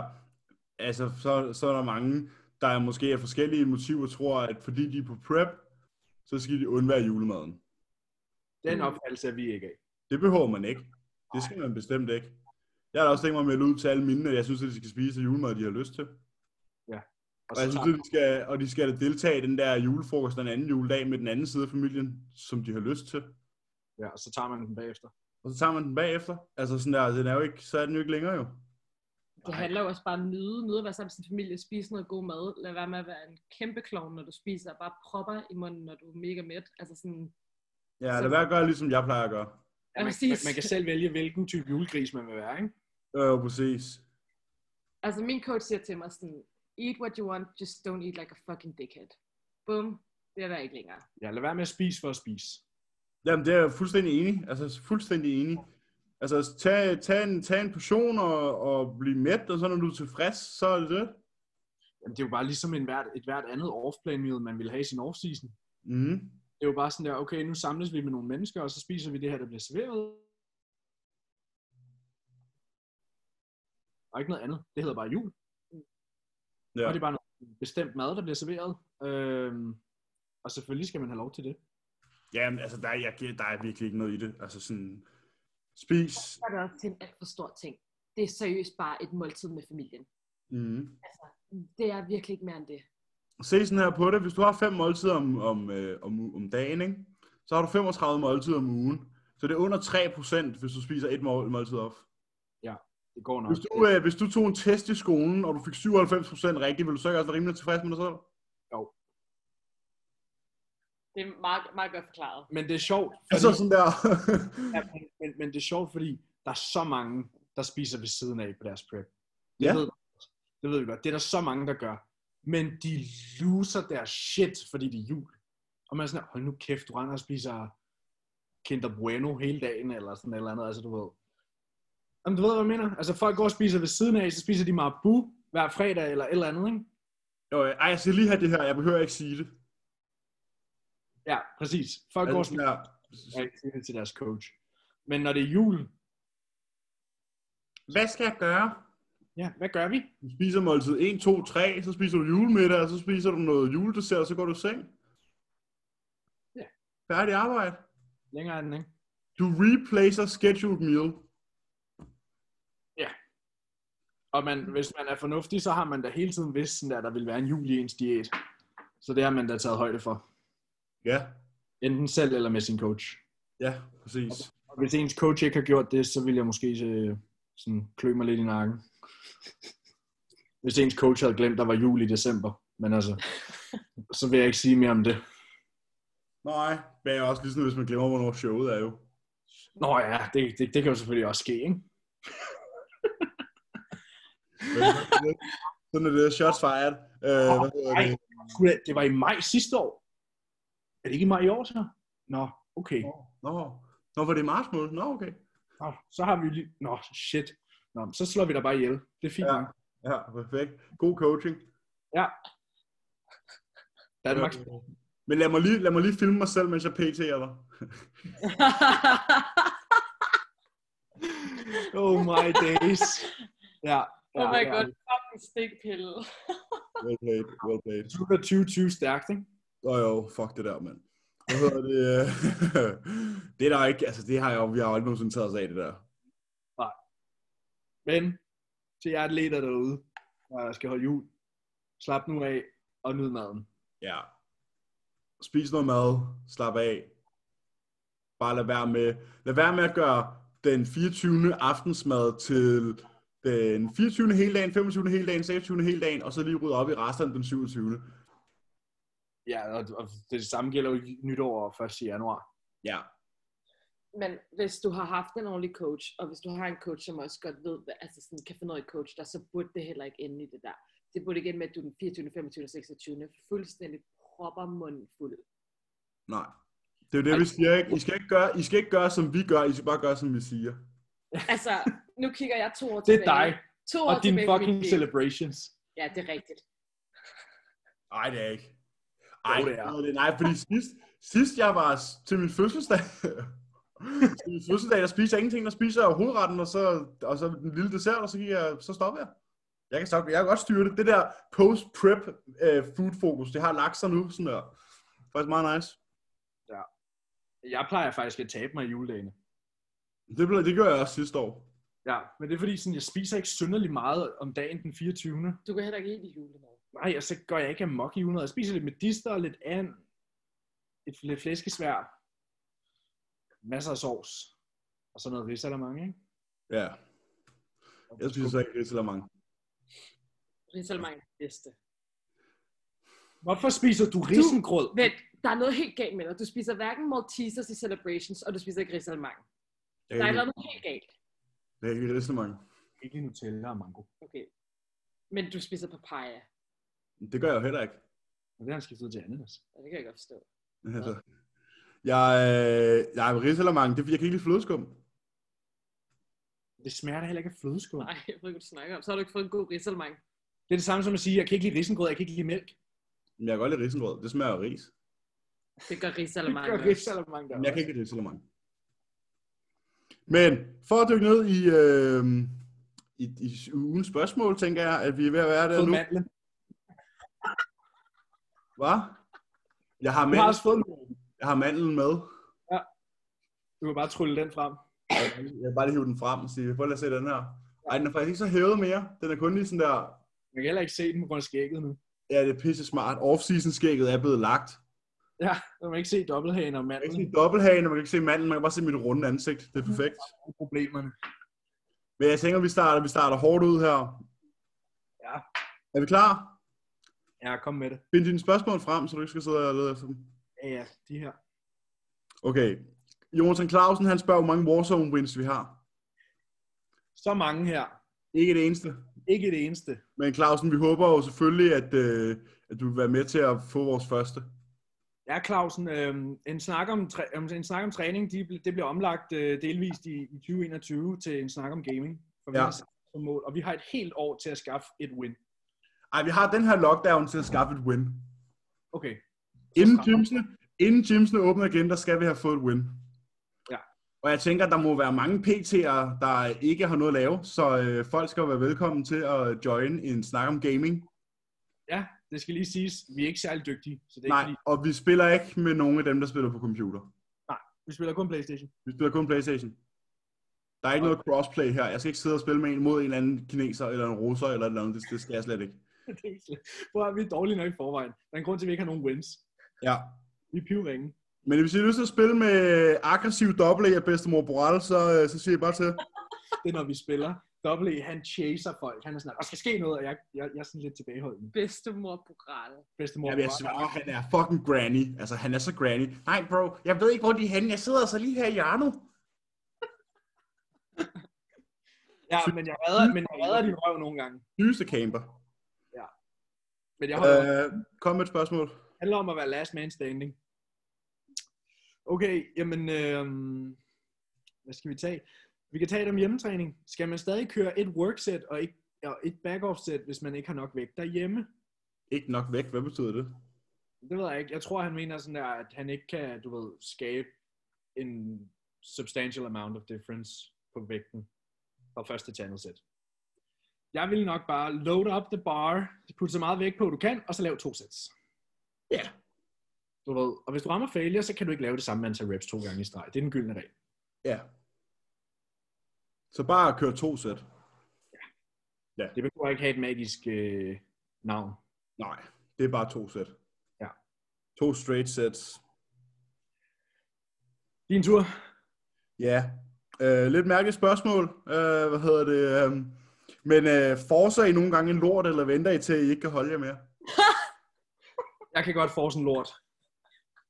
altså så, så er der mange, der er måske af forskellige motiver, tror, at fordi de er på prep, så skal de undvære julemaden.
Den
Mm.
opfattelse er vi ikke af.
Det behøver man ikke. Det skal man bestemt ikke. Jeg har da også tænkt mig at melde ud til alle mine, at jeg synes, at de skal spise det julemad, de har lyst til.
Og
Og, jeg
så
synes, at de skal, og de skal da deltage i den der julefrokost den anden juledag med den anden side af familien, som de har lyst til.
Ja, og så tager man den bagefter.
Og så tager man den bagefter. Altså sådan der, den er jo ikke, så er den jo ikke længere jo.
Det handler jo også bare om at nyde, nyde at være sammen med sin familie, spise noget god mad, lad være med at være en kæmpe klovn, når du spiser, og bare propper i munden, når du er mega mæt. Altså sådan,
Ja,
Så-
lad være at gøre, ligesom jeg plejer at gøre.
Ja, man,
Præcis.
man, man kan selv vælge, hvilken type julegris man vil være, ikke?
Øh, præcis.
altså min coach siger til mig sådan, eat what you want, just don't eat like a fucking dickhead. Bum, det er der ikke længere.
Ja, lad være med at spise for at spise.
Jamen, det er jeg fuldstændig enig. Altså, fuldstændig enig. Altså, tag, tag, en, tag en portion og, og blive mæt, og så når du er tilfreds, så er det det.
Jamen, det er jo bare ligesom en hvert, et hvert andet off-plan meal, man ville have i sin off-season.
Mm.
Det er jo bare sådan der, okay, nu samles vi med nogle mennesker, og så spiser vi det her, der bliver serveret. Og ikke noget andet. Det hedder bare jul. Ja. Og det er bare noget bestemt mad, der bliver serveret. Øhm, og selvfølgelig skal man have lov til det.
Ja, men altså, der, er- jeg, giver- der er virkelig ikke noget i det. Altså sådan, spis.
Så er det også til en alt for stor ting. Det er seriøst bare et måltid med familien. Altså,
Mm.
Det er virkelig ikke mere end det.
Se sådan her på det. Hvis du har fem måltider om, om, øh, om, u- om dagen, ikke? så har du 35 måltider om ugen. Så det er under 3%, hvis du spiser et mål- måltid op.
Det går nok.
Hvis du, øh, hvis du tog en test i skolen, og du fik 97% rigtigt, ville du så ikke også være rimelig tilfreds med dig selv?
Det er meget, meget godt forklaret.
Men det er sjovt.
Altså sådan der.
Ja, men- men, men det er sjovt, fordi der er så mange, der spiser ved siden af på deres prep. Det,
Ja.
ved, vi godt. det ved vi godt. Det er der så mange, der gør. Men de loser deres shit, fordi det er jul. Og man er sådan, her, hold nu kæft, du render og spiser Kinder Bueno hele dagen, eller sådan et eller andet, altså du ved. Jamen, du ved, hvad jeg mener? Altså, folk går og spiser ved siden af, så spiser de Marabu hver fredag, eller et eller andet, ikke?
jo, øh, ej, jeg skal lige have det her. Jeg behøver ikke sige det.
Ja, præcis. Folk går
Altså,
og
sådan
spiser
der.
ja. til deres coach. Men når det er jul,
Hvad skal jeg gøre?
ja, hvad gør vi?
Du spiser måltid 1, 2, 3, så spiser du julemiddag, og så spiser du noget juledessert, og så går du i seng.
Ja.
Færdig arbejde.
Længere er den, ikke?
Du replacer scheduled meal.
Og man, hvis man er fornuftig, så har man da hele tiden vidst, sådan der, der vil være en jul i ens diæt. Så det har man da taget højde for.
Ja,
Enten selv eller med sin coach.
ja, præcis.
Og hvis ens coach ikke har gjort det, så vil jeg måske øh, sådan klø mig lidt i nakken. Hvis ens coach havde glemt, der var jul i december. Men altså, så vil jeg ikke sige mere om det.
Nej, men jeg er også ligesom, hvis man glemmer, hvornår showet er jo.
Nå ja, det, det, det kan jo selvfølgelig også ske, ikke?
Men sådan er det. Sådan er det. Shots fired. Øh, hvad hedder
nej.
det?
Gud, Det var i maj sidste år. Er det ikke i maj i år, så? Nå, okay.
Nå, Nå, var det i marts måned? Nå, okay.
Nå, så har vi lige... Nå, shit. Nå, så slår vi dig bare ihjel. Det er fint.
Ja.
Ja.
Ja, perfekt. God coaching.
Danmark.
Øh, Men lad mig lige, lad mig lige filme mig selv, mens jeg pt'er dig.
Oh my days. Ja. ja
oh my
ja.
god, fucking stikpille.
Well played, well played.
Du er 2020 stærkt, ikke?
Nå jo, fuck det der, mand. Hvad hedder det? det er der ikke, altså det har jeg jo, vi har jo aldrig nogensinde taget os af, det der.
Men til jer atleter derude, der skal holde jul, slap nu af og nyd maden.
Ja. Spis noget mad, slap af. Bare lad være med, lad være med at gøre den 24. aftensmad til den 24. hele dagen, 25. hele dagen, 26. hele dagen, og så lige rydde op i resten den 27.
Ja, og, og det samme gælder jo nytår og 1. januar.
Ja.
Men hvis du har haft en ordentlig coach, og hvis du har en coach, som også godt ved, hvad, altså sådan, kan finde noget i coach der, så burde det heller ikke ende i det der. Det burde ikke ende med, at du den 24., 25. og 26. fuldstændig propper munden fuld.
Nej. Det er jo det, vi siger, ikke? I skal ikke gøre, I skal ikke gøre som vi gør, I skal bare gøre, som vi siger.
Altså, nu kigger jeg to år
Det er
tilbage.
dig
To år
og dine
tilbage på
fucking
mit liv.
celebrations.
Ja, det er rigtigt.
Nej, det er ikke. Ej,
Jo,
det
det
er.
er.
Det, nej, fordi sidst, sidst jeg var s- til min fødselsdag, til min fødselsdag, der spiser jeg ingenting, der spiser jeg hovedretten, og så, og så den lille dessert, og så, gik jeg, så stopper jeg. Jeg kan, stoppe, jeg kan godt styre det. Det der post-prep øh, food fokus, det har lagt sig nu. Sådan der. Faktisk meget nice.
Jeg plejer faktisk at tabe mig i juledagene.
Det, blev, det gjorde jeg også sidste år.
Ja, men det er fordi, sådan, jeg spiser ikke synderlig meget om dagen den 24.
Du kan heller ikke lide julemad.
Nej, og så gør jeg ikke amok i julen. Jeg spiser lidt medister og lidt and. Et, lidt flæskesvær. Masser af sovs. Og så noget ridsalermange, ikke?
Ja, jeg spiser så ikke rigtig mange.
Ridsalermang er det bedste.
Hvorfor spiser du risengrød?
Vent, der er noget helt galt med dig. Du spiser hverken Maltesers i Celebrations, og du spiser ikke Ridsalermang.
Jeg
Der
kan
er
ikke,
noget helt galt.
jeg kan ikke rigtig mange.
Ikke Nutella og mango.
Okay. Men du spiser papaya.
Det gør jeg jo heller ikke.
Og det har han skiftet til ananas.
Og det kan jeg godt forstå.
Altså, jeg, øh, jeg er risalamang, det er fordi, jeg kan ikke lide flødeskum.
Det smager da heller ikke af flødeskum.
Nej, jeg ved ikke, hvad du snakker om. Så har du ikke fået en god Ridsalermang.
Det er det samme som at sige, jeg kan ikke lide risengrød, jeg kan ikke lide mælk.
Men jeg kan godt lide risengrød. Det smager af ris.
Det gør
Det
risalamande.
gør risalamande
Men jeg kan
også.
ikke lide risalamande. Men for at dykke ned i, øh, i, i ugens spørgsmål, tænker jeg, at vi er ved at være der
Fået
nu.
mandlen.
Hvad? Jeg
Du
har,
har
mandel,
også fået
jeg har mandlen med.
Du kan bare trylle den frem.
Jeg vil bare lige hive den frem og sige, prøv lige at se den her. Ej, den er faktisk ikke så hævet mere. Den er kun lige sådan der,
Man kan heller ikke se den på grund af skægget nu.
ja, det er pisse smart. Off-season skægget er blevet lagt.
Ja, man kan ikke se dobbelthagen og
Man kan ikke
mandlen.
se dobbelthagen, og man kan ikke se manden, man kan bare se mit runde ansigt. Det er perfekt.
Problemerne.
Men jeg tænker, vi starter, vi starter hårdt ud her.
Ja.
Er vi klar?
Ja, kom med det.
Find dine spørgsmål frem, så du ikke skal sidde og lede efter dem.
Ja, ja, de her.
Okay. Jonathan Clausen, han spørger, hvor mange Warzone wins vi har.
Så mange her.
Ikke det eneste.
Ikke det eneste.
Men Clausen, vi håber jo selvfølgelig, at, øh, at du vil være med til at få vores første.
Ja, Clausen, øh, en, snak om, træ- om- en snak om træning, de, ble- det bliver omlagt øh, delvist i, i 2021 til en snak om gaming. For vi
Ja.
har sat os som mål, og vi har et helt år til at skaffe et win.
Ej, vi har den her lockdown til at skaffe et win.
Okay,
Inden gymsene, inden gymsene åbner igen, der skal vi have fået et win.
Ja.
Og jeg tænker, der må være mange PT'er, der ikke har noget at lave, så øh, folk skal jo være velkommen til at join en snak om gaming.
ja, det skal lige siges, vi er ikke særlig dygtige, så det er
Nej,
ikke fordi,
og vi spiller ikke med nogen af dem, der spiller på computer.
vi spiller kun Playstation.
Vi spiller kun Playstation. Der er ikke noget crossplay her. Jeg skal ikke sidde og spille med en mod en eller anden kineser, eller en russer, eller et eller andet. Det, det skal jeg slet ikke.
Det er slet- Prøv at høre, vi er dårlige nok i forvejen. Der er en grund til, at vi ikke har nogen wins.
Ja.
Vi er pivringe.
Men hvis I har lyst til at spille med aggressiv dobbelt af bedstemor Boral, så, øh, så siger jeg bare til.
Det er, når vi spiller. Double E, han chaser folk. Han er sådan, der skal ske noget, og jeg, jeg, jeg er sådan lidt tilbageholdende.
Bedstemor Borale.
Bedstemor,
Ja, men jeg svarer, han er fucking granny. Altså, han er så granny. Nej, bro, jeg ved ikke, hvor de er henne. Jeg sidder altså lige her i hjørnet.
ja, men jeg redder, men jeg redder din røv nogle gange.
Nyeste camper.
Men jeg holder
Øh, kom med et spørgsmål.
Det handler om at være last man standing. Okay, jamen, øh, hvad skal vi tage? Vi kan tage det om hjemmetræning. Skal man stadig køre et workset og, ikke, og et back-off-set, hvis man ikke har nok vægt derhjemme?
Ikke nok væk. Hvad betyder det?
Det ved jeg ikke. Jeg tror, han mener sådan der, at han ikke kan, du ved, skabe en substantial amount of difference på vægten fra første til andet sæt. Jeg vil nok bare load up the bar, putte så meget vægt på, du kan, og så lave to sets.
Ja.
Du ved, og hvis du rammer failure, så kan du ikke lave det samme antal reps to gange i streg. Det er den gyldne regel.
Ja. Så bare kør to sæt.
Det behøver ikke have et magisk øh, navn.
Nej, det er bare to sæt.
Ja.
To straight sets.
Din tur.
Ja. Øh, lidt mærkeligt spørgsmål. Øh, hvad hedder det? Øh, men øh, forser I nogle gange en lort, eller venter I til, at I ikke kan holde jer mere?
Jeg kan godt få sådan lort.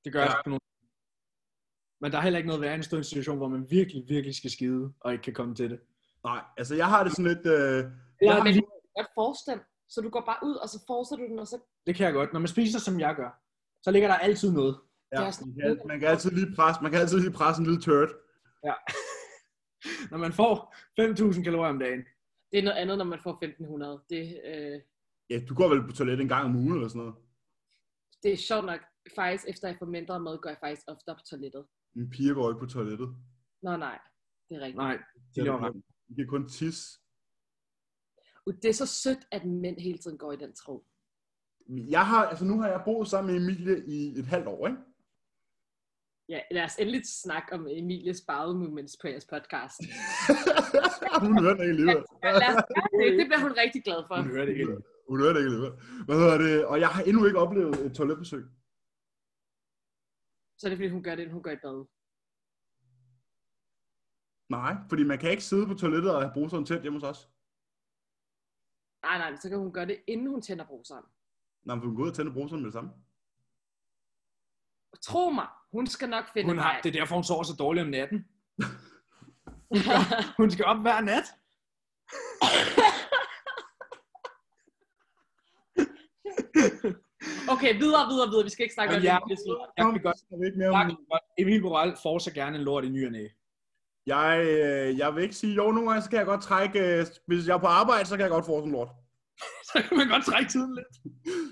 Det gør
Ja.
ja. jeg sgu nogle- Men der er heller ikke noget værre end at stå i en situation, hvor man virkelig, virkelig skal skide, og ikke kan komme til det.
Nej, altså jeg har det sådan lidt... Øh,
Ja,
men
men-
du kan godt force den. Så du går bare ud, og så forser du den, og så...
Det kan jeg godt. Når man spiser, som jeg gør, så ligger der altid noget.
ja,
Det er
man,
sådan-
kan, man, kan altid lige presse, man kan altid lige presse en lille turd.
Når man får 5.000 kalorier om dagen.
Det er noget andet, når man får 1500. Det, øh,
Ja, du går vel på toilet en gang om ugen eller sådan noget.
det er sjovt nok. Faktisk, efter jeg får mindre mad, går jeg faktisk oftere på toilettet.
En pige går ikke på toilettet.
Nå nej, det er rigtigt.
Nej, de laver ret.
De kan kun tisse.
Uh, Det er så sødt, at mænd hele tiden går i den tro.
Jeg har, altså nu har jeg boet sammen med Emilie i et halvt år, ikke?
Ja, lad os endelig snakke om Emilies bowel movements på jeres podcast.
Hun hører det ikke alligevel.
Ja, lad os gøre det. det bliver hun rigtig glad for.
Man hører det ikke.
Hun hører det ikke alligevel. Hvad hedder det? Og jeg har endnu ikke oplevet et toiletbesøg.
Så er det fordi, hun gør det, når hun går i bad.
Nej, fordi man kan ikke sidde på toilettet og bruge sådan tæt hjemme hos os.
Nej, nej, men så kan hun gøre det, inden hun tænder bruseren.
Nej, men hun går ud og tænder bruseren med det samme.
Tro mig, hun skal nok finde
Hun
en
har,
vej.
det er derfor, hun sover så dårligt om natten. Hun skal op hver nat.
okay, videre, videre, videre. Vi skal ikke snakke om
Men
det.
jeg,
Emilies liv.
jeg kan godt
Jeg, ikke mere
Jeg
om,
kan godt. Emil Borel får så gerne en lort i ny og næ.
jeg, øh, jeg vil ikke sige, jo, nogle gange så kan jeg godt trække, øh, hvis jeg er på arbejde, så kan jeg godt få sådan en lort.
så kan man godt trække tiden lidt.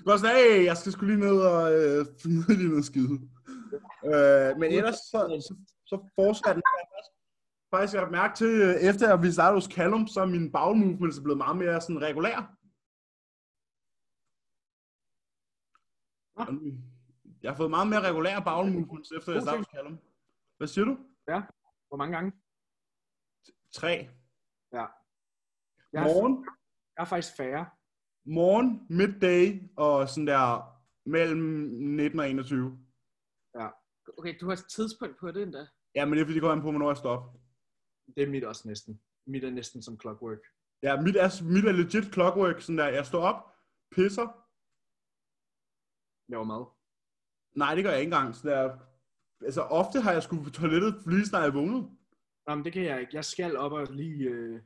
Bare sådan, hey, jeg skal skulle lige ned og øh, finde lige noget skide. Øh, men ellers så, så, så fortsatte den. Faktisk, jeg har mærke til, øh, efter at vi startede hos Callum, så er min bagmovements blevet meget mere sådan regulær.
Nå.
Jeg har fået meget mere regulær bagmovements, efter jeg
God
startede
ting.
hos Callum. Hvad siger du?
Hvor mange gange?
Tre.
Ja. Jeg har,
Morgen,
jeg har faktisk færre.
morgen, middag og sådan der mellem 19 og 21.
Okay, du har et tidspunkt på det endda.
Ja, men det er fordi, det går an på, hvornår jeg stopper.
Det er mit også næsten. Mit er næsten som clockwork.
Ja, mit er, mit er legit clockwork, sådan der, jeg står op, pisser.
Laver mad.
Nej, det gør jeg ikke engang. Sådan der, altså, ofte har jeg skulle på toilettet, lige snart jeg vågnede.
Nå, men det kan jeg ikke. Jeg skal op og lige øh,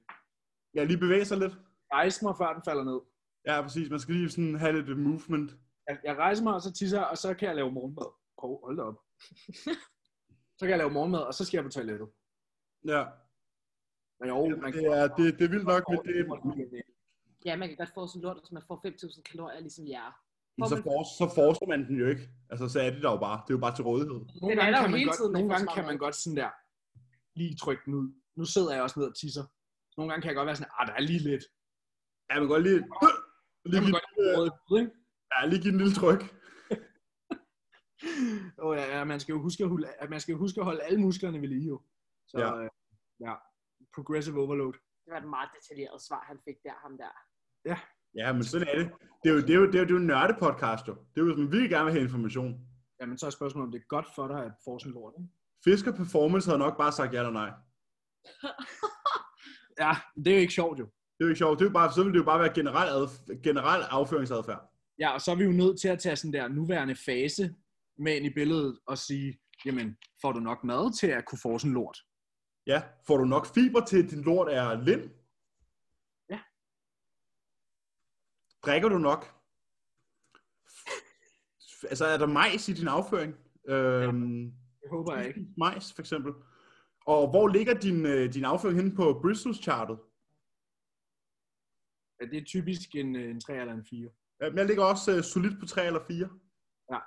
Jeg lige bevæger sig lidt.
rejse mig, før den falder ned.
Ja, præcis. Man skal lige sådan have lidt øh, movement.
Jeg, jeg rejser mig, og så tisser, jeg, og så kan jeg lave morgenmad. Hov, hold da op. så kan jeg lave morgenmad, og så skal jeg på toilettet.
Ja,
Men jo, man
det er, det, det er vildt nok, men, det,
Ja, man kan godt få sådan lort, hvis man får 5.000 kalorier, ligesom jer.
men så, for, så forstår man den jo ikke. Altså, så er det der jo bare. Det er jo bare til rådighed.
Nogle
Den er
gange,
der jo
kan man,
hele
godt,
tiden,
nogle
man får
gange
så
kan
meget.
man godt sådan der, lige trykke den ud. Nu sidder jeg også ned og tisser. Så Nogle gange kan jeg godt være sådan, ah, der er lige lidt.
Ja, man kan godt lige...
Jeg
Lige
kan
give,
godt lide røde brød, ikke?
ja, lige give en lille tryk.
Og ja, ja, man skal jo huske at, holde, at man skal jo huske at holde alle musklerne ved lige jo. Så
Ja.
ja. Øh, ja. Progressive overload.
Det var et meget detaljeret svar, han fik der, ham der.
Ja, men sådan er det. Det er jo, det er jo, det er jo, det er jo en nørdepodcast, jo. Det er jo, hvis man virkelig gerne vil have information.
Jamen, så er spørgsmålet, om det er godt for dig at få sådan lort. ikke?
Fisker Performance havde nok bare sagt ja eller nej.
Ja, men det er jo ikke sjovt jo.
Det er jo ikke sjovt. Det er jo bare, så vil det jo bare være generel, adf- generel afføringsadfærd.
Ja, og så er vi jo nødt til at tage sådan der nuværende fase med ind i billedet og sige, jamen, får du nok mad til at kunne få sådan lort?
Ja, får du nok fiber til, at din lort er lind?
Ja.
Drikker du nok? F- Altså, er der majs i din afføring? Øhm,
Det håber jeg ikke.
majs, for eksempel. Og hvor ligger din, øh, din afføring henne på Bristol-chartet?
Ja, det er typisk en, øh, en 3 eller en 4.
Øhm, Jeg ligger også øh, solidt på 3 eller 4.
Ja.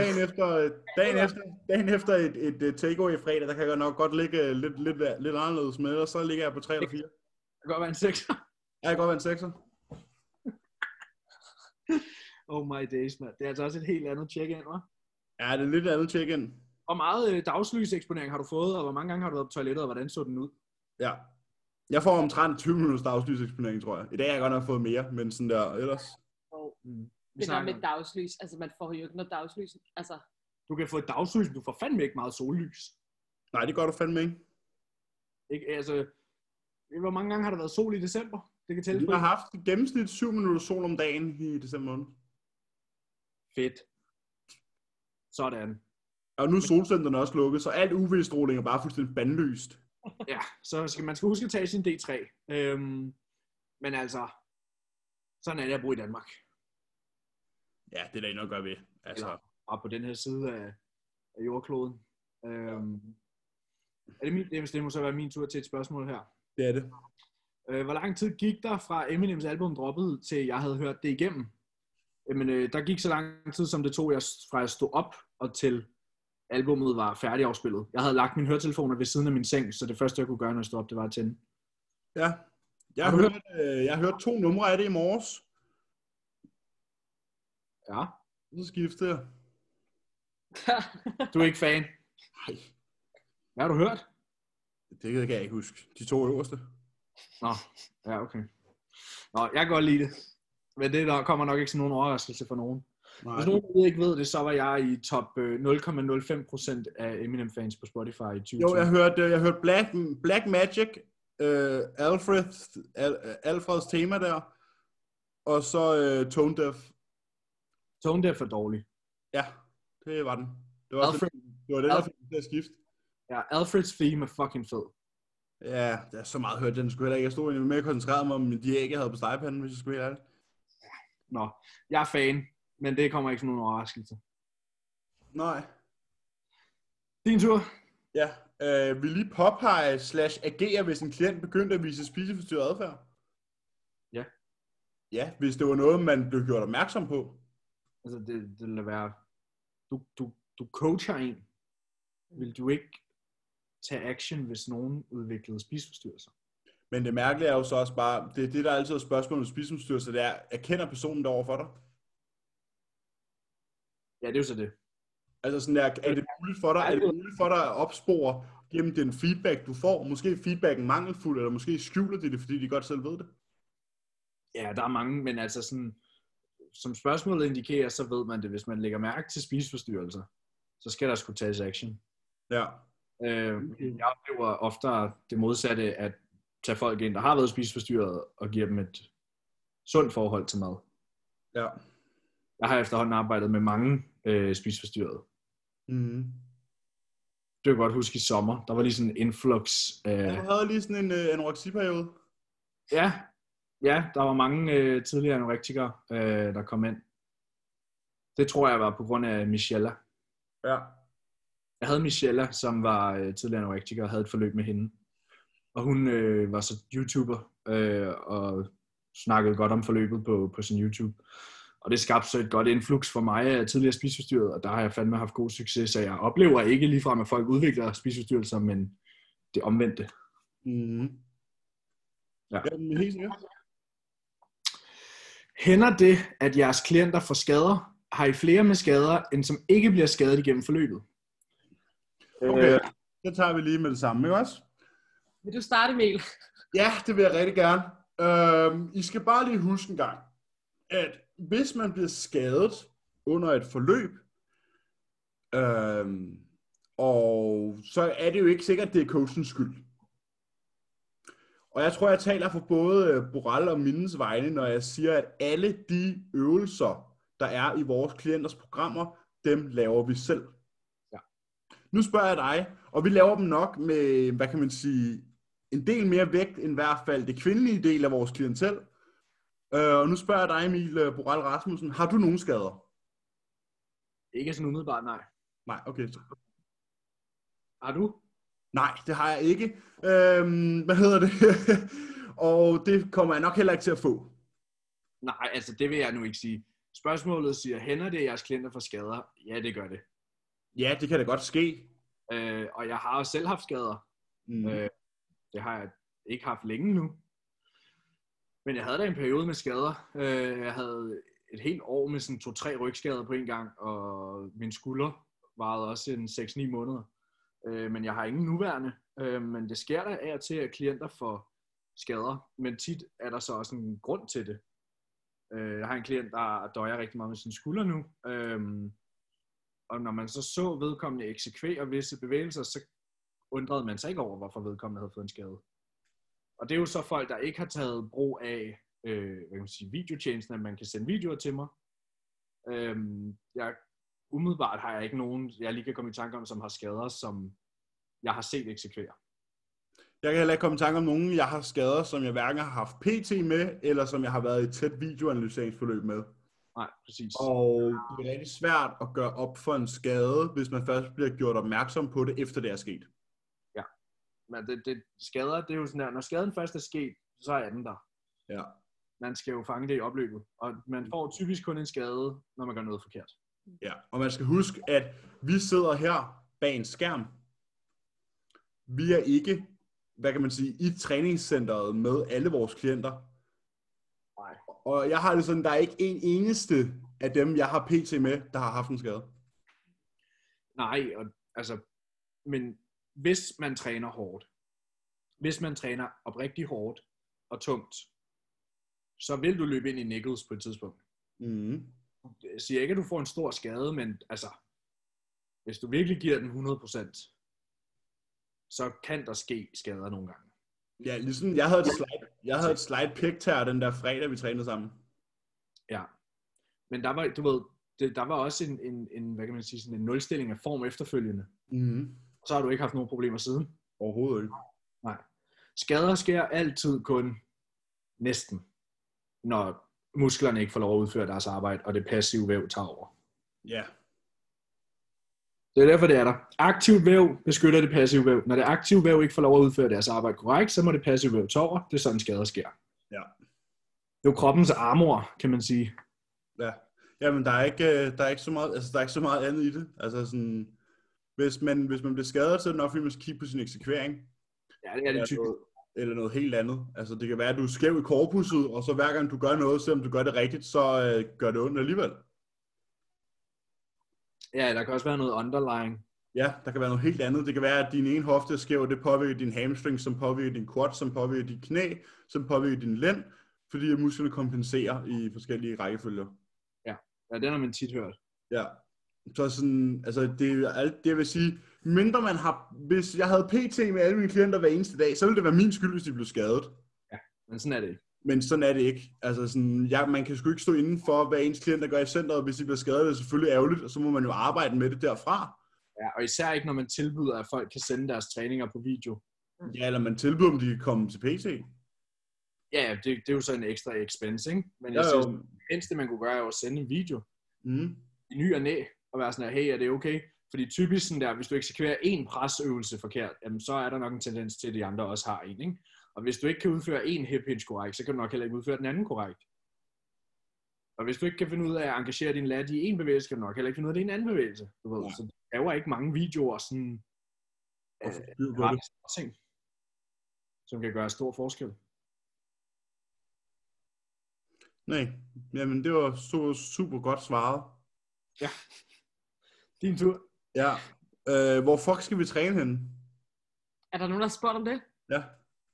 Dagen efter, øh, dagen efter, dagen efter et, et, et takeaway i fredag, der kan jeg nok godt ligge øh, lidt, lidt, lidt anderledes med, og så ligger jeg på 3 eller 4.
Det kan godt være en 6.
Jeg kan godt være en sekser.
oh my days, mand. Det er altså også et helt andet check-in, hva'?
Ja, det er lidt andet check-in.
Hvor meget øh, dagslyseksponering har du fået, og hvor mange gange har du været på toilettet, og hvordan så den ud?
Ja. Jeg får omtrent 20 minutters dagslyseksponering, tror jeg. I dag har jeg godt nok fået mere, men sådan der ellers.
Og
Mm. Vi
det der
snakker,
med
om-
dagslys, altså man får jo ikke noget dagslys. Altså,
du kan få et dagslys, men du får fandme ikke meget sollys.
Nej, det gør du fandme ikke.
Ikke? Altså, hvor mange gange har der været sol i december? Det kan tælle
Vi
på.
har haft i gennemsnit 7 minutter sol om dagen i december måned.
Fedt. Sådan.
Og nu er solcenterne også lukket, så alt UV-stråling er bare fuldstændig bandlyst.
Ja, så skal man skal huske at tage sin D3. Øhm, men altså, sådan er det at bo i Danmark.
Ja, det er der ikke noget at gøre ved. Altså,
Og på den her side af, af jordkloden. Øhm, er det, min, det må så være min tur til et spørgsmål her.
det er det.
Øh, hvor lang tid gik der fra Eminems album droppede, til jeg havde hørt det igennem? Jamen, øh, der gik så lang tid, som det tog jeg, s- fra jeg stod op og til albummet var færdigafspillet. Jeg havde lagt mine høretelefoner ved siden af min seng, så det første, jeg kunne gøre, når jeg stod op, det var at tænde.
Ja. Jeg har,
Har du
hørt, øh, jeg har hørt to numre af det i morges.
Ja.
Så skiftede jeg.
Du er ikke fan.
Nej,
Hvad har du hørt?
det kan jeg ikke huske. De to øverste.
Nå, ja, okay. Nå, jeg kan godt lide det. Men det der kommer nok ikke sådan nogen overraskelse for nogen.
Nej.
Hvis nogen derude ikke ved det, så var jeg i top øh, 0,05% af Eminem-fans på Spotify i 2020.
Jo, jeg hørte, jeg hørte Black, Black Magic, øh, Alfred, Al, øh, Alfreds tema der, og så øh, Tone Deaf.
Tone der er for dårlig.
Ja, det var den. Det var, Alfred.
Alfred.
det var den, der
Alfred.
fik mig til at skifte.
Ja, Alfreds theme er fucking fed.
Ja, der er så meget hørt, den skulle heller ikke. Jeg stod egentlig mere koncentreret mig om de æg, jeg havde på stegepanden, hvis jeg skulle helt ærligt.
Nå, jeg er fan, men det kommer ikke som nogen overraskelse.
Nej.
Din tur.
Ja, øh, vil lige påpege slash agere, hvis en klient begyndte at vise spiseforstyrret adfærd?
Ja.
Ja, hvis det var noget, man blev gjort opmærksom på.
Altså, det, det ville da være... Du, du, du coacher en. Vil du ikke tage action, hvis nogen udviklede spiseforstyrrelser?
Men det mærkelige er jo så også bare, det er det, der altid er spørgsmålet med spiseforstyrrelser, det er, erkender personen det over for dig?
Ja, det er jo så det.
Altså sådan der, er det muligt for dig, er det muligt for dig at opspore gennem den feedback, du får? Måske er feedbacken mangelfuld, eller måske skjuler de det, fordi de godt selv ved det.
Ja, der er mange, men altså sådan, som spørgsmålet indikerer, så ved man det. Hvis man lægger mærke til spiseforstyrrelser, så skal der skulle tages action.
Ja.
Øh, jeg oplever oftere det modsatte, at tage folk ind, der har været spiseforstyrret, og give dem et sundt forhold til mad.
Ja.
Jeg har efterhånden arbejdet med mange øh, spiseforstyrrede.
Mm.
Det kan jeg godt huske i sommer. Der var lige sådan en influx.
Ja.
Øh,
Du havde lige sådan en øh, anoreksiperiode.
ja, ja, der var mange øh, tidligere anorektikere, øh, der kom ind. Det tror jeg var på grund af Michella.
Ja.
Jeg havde Michella, som var øh, tidligere anorektiker og havde et forløb med hende. Og hun øh, var så YouTuber øh, og snakkede godt om forløbet på, på sin YouTube. Og det skabte så et godt influx for mig af tidligere spiseforstyrret, og der har jeg fandme haft god succes, så jeg oplever ikke ligefrem, at folk udvikler spiseforstyrrelser, men det omvendte.
Mm.
Ja.
ja men helt sikkert.
Hænder det, at jeres klienter får skader? Har I flere med skader, end som ikke bliver skadet igennem forløbet?
Okay. Øh. Det tager vi lige med det samme, ikke også?
Vil du starte, Mikkel?
Ja, det vil jeg rigtig gerne. Øhm, I skal bare lige huske en gang, at hvis man bliver skadet under et forløb, øhm, og så er det jo ikke sikkert, at det er coachens skyld. Og jeg tror, jeg taler for både øh, Boral og Mindens vegne, når jeg siger, at alle de øvelser, der er i vores klienters programmer, dem laver vi selv.
Ja.
Nu spørger jeg dig, og vi laver dem nok med, hvad kan man sige, en del mere vægt end i hvert fald det kvindelige del af vores klientel. Øh, og nu spørger jeg dig, Emil øh, Boral Rasmussen, har du nogen skader?
Ikke sådan umiddelbart, nej.
Nej, okay. så-
Har du?
Nej, det har jeg ikke. Øhm, hvad hedder det? og det kommer jeg nok heller ikke til at få.
Nej, altså det vil jeg nu ikke sige. Spørgsmålet siger, hænder det, at jeres klienter får skader? Ja, det gør det.
Ja, det kan da godt ske.
Øh, og jeg har også selv haft skader.
Mm.
Øh. Det har jeg ikke haft længe nu. Men jeg havde da en periode med skader. Øh, jeg havde et helt år med sådan to-tre rygskader på en gang, og min skulder varede også en 6-9 måneder. Øh, men jeg har ingen nuværende. Øh, men det sker der af og til, at klienter får skader. Men tit er der så også en grund til det. Øh, jeg har en klient, der døjer rigtig meget med sin skulder nu. Øh, og når man så så vedkommende eksekvere visse bevægelser, så undrede man sig ikke over, hvorfor vedkommende havde fået en skade. Og det er jo så folk, der ikke har taget brug af øh, hvad kan man sige, videotjenesten, at man kan sende videoer til mig. Øhm, jeg, umiddelbart har jeg ikke nogen, jeg lige kan komme i tanke om, som har skader, som jeg har set eksekvere.
Jeg kan heller ikke komme i tanke om nogen, jeg har skader, som jeg hverken har haft PT med, eller som jeg har været i et tæt videoanalyseringsforløb med.
Nej, præcis.
Og det er rigtig svært at gøre op for en skade, hvis man først bliver gjort opmærksom på det, efter det er sket.
Men det, det, skader, det er jo sådan der, når skaden først er sket, så er den der.
Ja.
Man skal jo fange det i opløbet. Og man får typisk kun en skade, når man gør noget forkert.
Ja, og man skal huske, at vi sidder her bag en skærm. Vi er ikke, hvad kan man sige, i træningscenteret med alle vores klienter.
Nej.
Og jeg har det sådan, der er ikke en eneste af dem, jeg har PT med, der har haft en skade.
Nej, og, altså, men hvis man træner hårdt, hvis man træner oprigtig hårdt og tungt, så vil du løbe ind i nickels på et tidspunkt.
Mm.
Jeg siger ikke, at du får en stor skade, men altså, hvis du virkelig giver den 100%, så kan der ske skader nogle gange.
Ja, ligesom jeg havde et slide, jeg havde et slide pick her den der fredag, vi trænede sammen.
Men der var, du ved, det, der var også en, en, en, hvad kan man sige, sådan en nulstilling af form efterfølgende.
Mm.
Så har du ikke haft nogen problemer siden.
Overhovedet ikke.
Skader sker altid kun næsten, når musklerne ikke får lov at udføre deres arbejde, og det passive væv tager over.
Ja.
Det er derfor, det er der. Aktivt væv beskytter det passive væv. Når det aktive væv ikke får lov at udføre deres arbejde korrekt, så må det passive væv tage over. Det er sådan, skader sker.
Ja.
Det er jo kroppens armor, kan man sige.
Ja. Jamen, der er ikke, øh, der er ikke, så, meget, altså, der er ikke så meget andet i det. Altså, sådan, hvis, man, hvis man bliver skadet, så er det nok, fordi man skal kigge på sin eksekvering.
Ja, det er
eller
det typisk.
noget- Eller noget helt andet. Altså, det kan være, at du er skæv i korpusset, og så hver gang du gør noget, selvom du gør det rigtigt, så øh, gør det ondt alligevel.
Ja, der kan også være noget underlying.
Ja, der kan være noget helt andet. Det kan være, at din ene hofte er skæv, og det påvirker din hamstring, som påvirker din quad, som påvirker dit knæ, som påvirker din lænd, fordi at musklerne kompenserer i forskellige rækkefølger.
Ja, den har man tit hørt.
Ja. Så sådan, altså det er jo alt det, jeg vil sige, mindre man har, hvis jeg havde PT med alle mine klienter hver eneste dag, så ville det være min skyld, hvis de blev skadet.
Men sådan er det ikke.
Men sådan er det ikke. Altså sådan, ja, man kan sgu ikke stå inden for, hvad ens klienter gør i centret, hvis de bliver skadet, det er selvfølgelig ærgerligt, og så må man jo arbejde med det derfra.
Ja, og især ikke, når man tilbyder, at folk kan sende deres træninger på video.
Ja, eller man tilbyder dem, de kan komme til PT.
Ja, ja, det, det er jo så en ekstra expense, ikke? Men
Ja,
jeg synes,
jo.
det mindste, man kunne gøre, er jo at sende en video
Mm.
i ny og næ, og være sådan her, hey, er det okay? Fordi typisk sådan der, hvis du eksekverer en presøvelse forkert, jamen så er der nok en tendens til, at de andre også har en, ikke? Og hvis du ikke kan udføre en hip hinge korrekt, så kan du nok heller ikke udføre den anden korrekt. Og hvis du ikke kan finde ud af at engagere din lat i en bevægelse, kan du nok heller ikke finde ud af det i en anden bevægelse. Du ved,
Nej.
så der er jo ikke mange videoer sådan
Og få styr på det.
ret små ting, som kan gøre stor forskel.
Nej, jamen det var super, super godt svaret.
Din tur.
Ja. Øh, hvor fuck skal vi træne henne?
Er der nogen, der har spurgt om det?
Ja.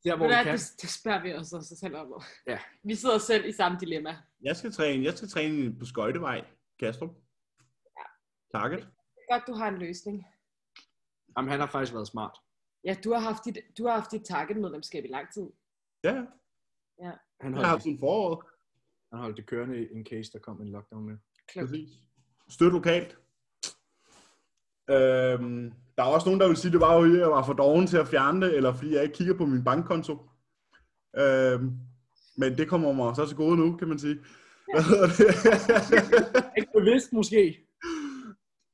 Der, hvor
Ved du
du
hvad,
kan.
det, det spørger vi os også selv om.
Ja.
Vi sidder selv i samme dilemma.
Jeg skal træne, jeg skal træne på Skøjtevej, Kastrup. Target.
Godt, du har en løsning.
Jamen, han har faktisk været smart.
Ja, du har haft dit, du har haft dit target-medlemskab i lang tid.
Ja,
Han
jeg har
holdt,
haft sådan foråret.
han holdt det kørende i- in case, der kom en lockdown med.
Klogt.
Præcis. Støt lokalt. Øhm, der er også nogen, der vil sige, at det var jo, fordi jeg var for doven til at fjerne det, eller fordi jeg ikke kigger på min bankkonto. Øhm, men det kommer mig så til gode nu, kan man sige. Hvad hedder det?
Ikke bevidst måske.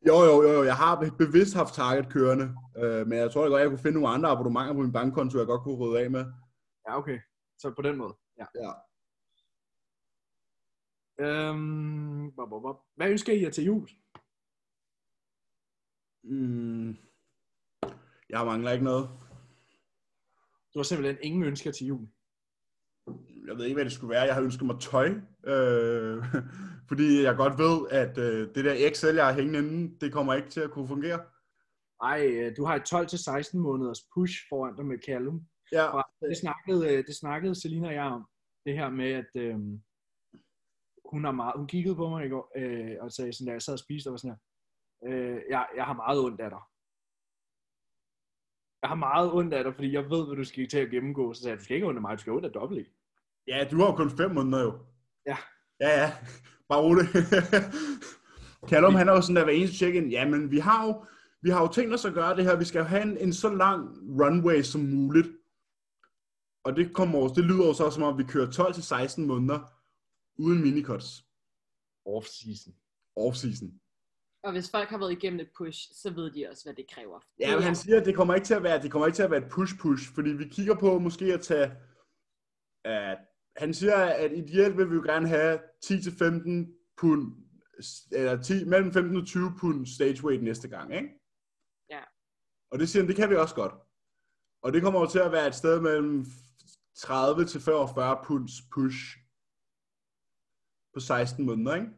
Jo, jo, jo, jo. Jeg har bevidst haft target kørende. Øh, men jeg tror da godt, jeg kunne finde nogle andre abonnementer på min bankkonto, jeg godt kunne rydde af med.
Ja, okay. Så på den måde. Ja.
Ja.
Øhm, bop, bop, bop. Hvad ønsker I jer til jul?
Mm. Jeg mangler ikke noget.
Du har simpelthen ingen ønsker til jul.
Jeg ved ikke, hvad det skulle være. Jeg har ønsket mig tøj. Øh, fordi jeg godt ved, at øh, det der Excel, jeg har hængende inde, det kommer ikke til at kunne fungere.
Ej, øh, du har et 12-16 måneders push foran dig med Callum.
Ja,
Det snakkede, øh, det snakkede Selina og jeg om. Det her med, at øh, hun, har meget, hun kiggede på mig i går øh, og sagde sådan, da jeg sad og spiste, og var sådan her, øh, jeg, jeg har meget ondt af dig. Jeg har meget ondt af dig, fordi jeg ved, hvad du skal til at gennemgå. Så sagde jeg, du skal ikke have ondt af mig, du skal have ondt af dobbelt. E."
ja du har jo kun fem måneder jo.
Ja.
Ja, ja. Bare rolig. Callum, han er jo sådan der hver eneste check-in. Jamen, vi har jo, vi har jo tænkt os at gøre det her. Vi skal jo have en, en så lang runway som muligt. Og det, kommer også, det lyder jo så som om, vi kører 12-16 måneder uden minicuts
Off-season.
off-season.
Og hvis folk har været igennem et push, så ved de også, hvad det kræver.
Ja, men han siger, at det kommer ikke til at være, det kommer ikke til at være et push-push, fordi vi kigger på måske at tage... At han siger, at ideelt vil vi jo gerne have 10-15 pund, eller 10, mellem 15 og 20 pund stage weight næste gang, ikke?
Ja.
Og det siger han, det kan vi også godt. Og det kommer jo til at være et sted mellem 30 til 45 punds push på 16 måneder, ikke?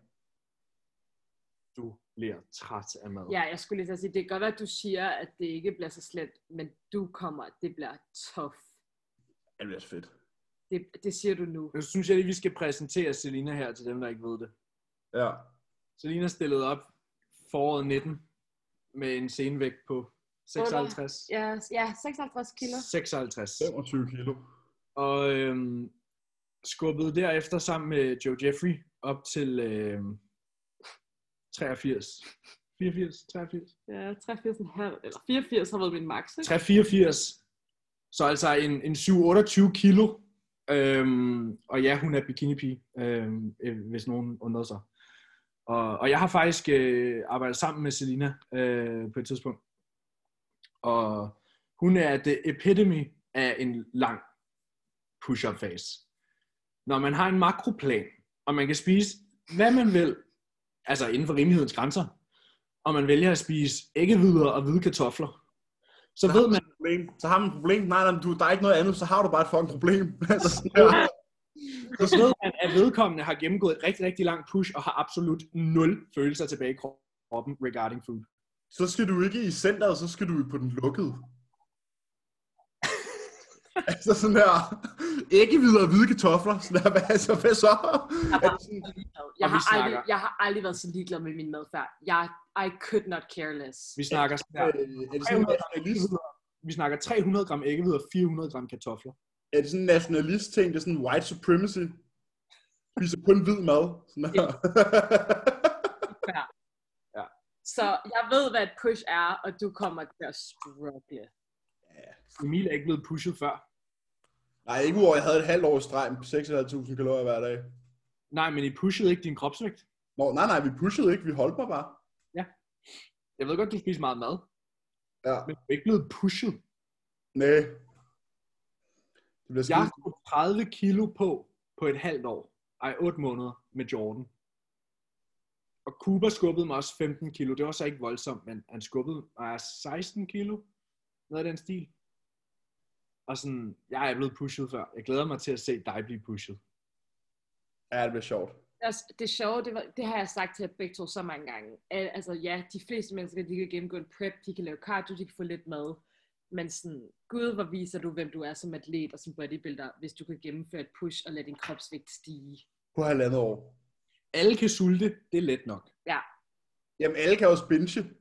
Du bliver træt af mad.
Ja, jeg skulle lige til at sige, det kan godt være, at du siger, at det ikke bliver så slemt, men du kommer, det bliver tough.
Ja, Det bliver fedt.
Det, det siger du nu.
Nu synes jeg lige, vi skal præsentere Selina her til dem, der ikke ved det.
Ja.
Selina stillede op foråret 19 med en senvægt på 56.
Ja, ja 56 kilo.
56.
25 kilo.
Og øhm, skubbede derefter sammen med Joe Jeffrey op til øhm, 83. 84, 83.
Ja, 83,5, eller 84 har været min max, ikke?
384. Så altså en, en 7-28 kilo. Øhm, og ja, hun er bikinipige, øhm, øh, hvis nogen undrede sig. Og, og jeg har faktisk øh, arbejdet sammen med Selina øh, på et tidspunkt. Og hun er the epitome af en lang push-up fase. når man har en makroplan, og man kan spise, hvad man vil, altså inden for rimelighedens grænser, og man vælger at spise æggevidder og hvide kartofler, så
Der
ved
har
man,
et problem. Så har man et problem. Nej, nej, men du, der er ikke noget andet, så har du bare et fucking problem. altså, sådan der.
så ved man, at vedkommende har gennemgået et rigtig, rigtig langt push, og har absolut nul følelser tilbage i kroppen regarding food.
så skal du ikke i centret, så skal du på den lukkede. altså sådan der, ikke videre hvide kartofler. Sådan der, hvad, altså, hvad så? Er det sådan,
Jeg
Og vi
har, aldrig,
snakker-
jeg har aldrig været så ligeglad med min madfærd. Jeg, I could not care less.
Vi snakker,
øh,
ja,
er det sådan en nationalist?
vi snakker 300 gram æggevidder og 400 gram kartofler.
Er det sådan en nationalist ting? Det er sådan white supremacy? Spiser kun hvid mad. Sådan der.
Så jeg ved, hvad et push er, og du kommer til at struggle.
Emil er ikke blevet pushet før.
Nej, ikke hvor jeg havde et halvt år i streg med 6.500 kalorier hver dag.
Nej, men I pushede ikke din kropsvægt.
Nå, nej, nej, vi pushede ikke, vi holdt mig bare.
Jeg ved godt, du spiser meget mad,
Ja.
men du er ikke blevet pushet.
Nej. Det bliver
Jeg
skidt.
har 30 kilo på på et halvt år. Ej, 8 måneder med Jordan. Og Cooper skubbede mig også 15 kilo. Det var så ikke voldsomt, men han skubbede mig 16 kilo. Noget af den stil. Og sådan, jeg er blevet pushet før. Jeg glæder mig til at se dig blive pushet.
Ja, det bliver sjovt.
Altså, det sjove, det, var, det har jeg sagt til jer begge to så mange gange. Al- Altså ja, de fleste mennesker, de kan gennemgå en prep, de kan lave cardio, de kan få lidt mad. Men sådan, gud, hvor viser du, hvem du er som atlet og som bodybuilder, hvis du kan gennemføre et push og lade din kropsvægt stige.
På halvandet år.
Alle kan sulte, det er let nok.
Jamen, alle kan jo spinche.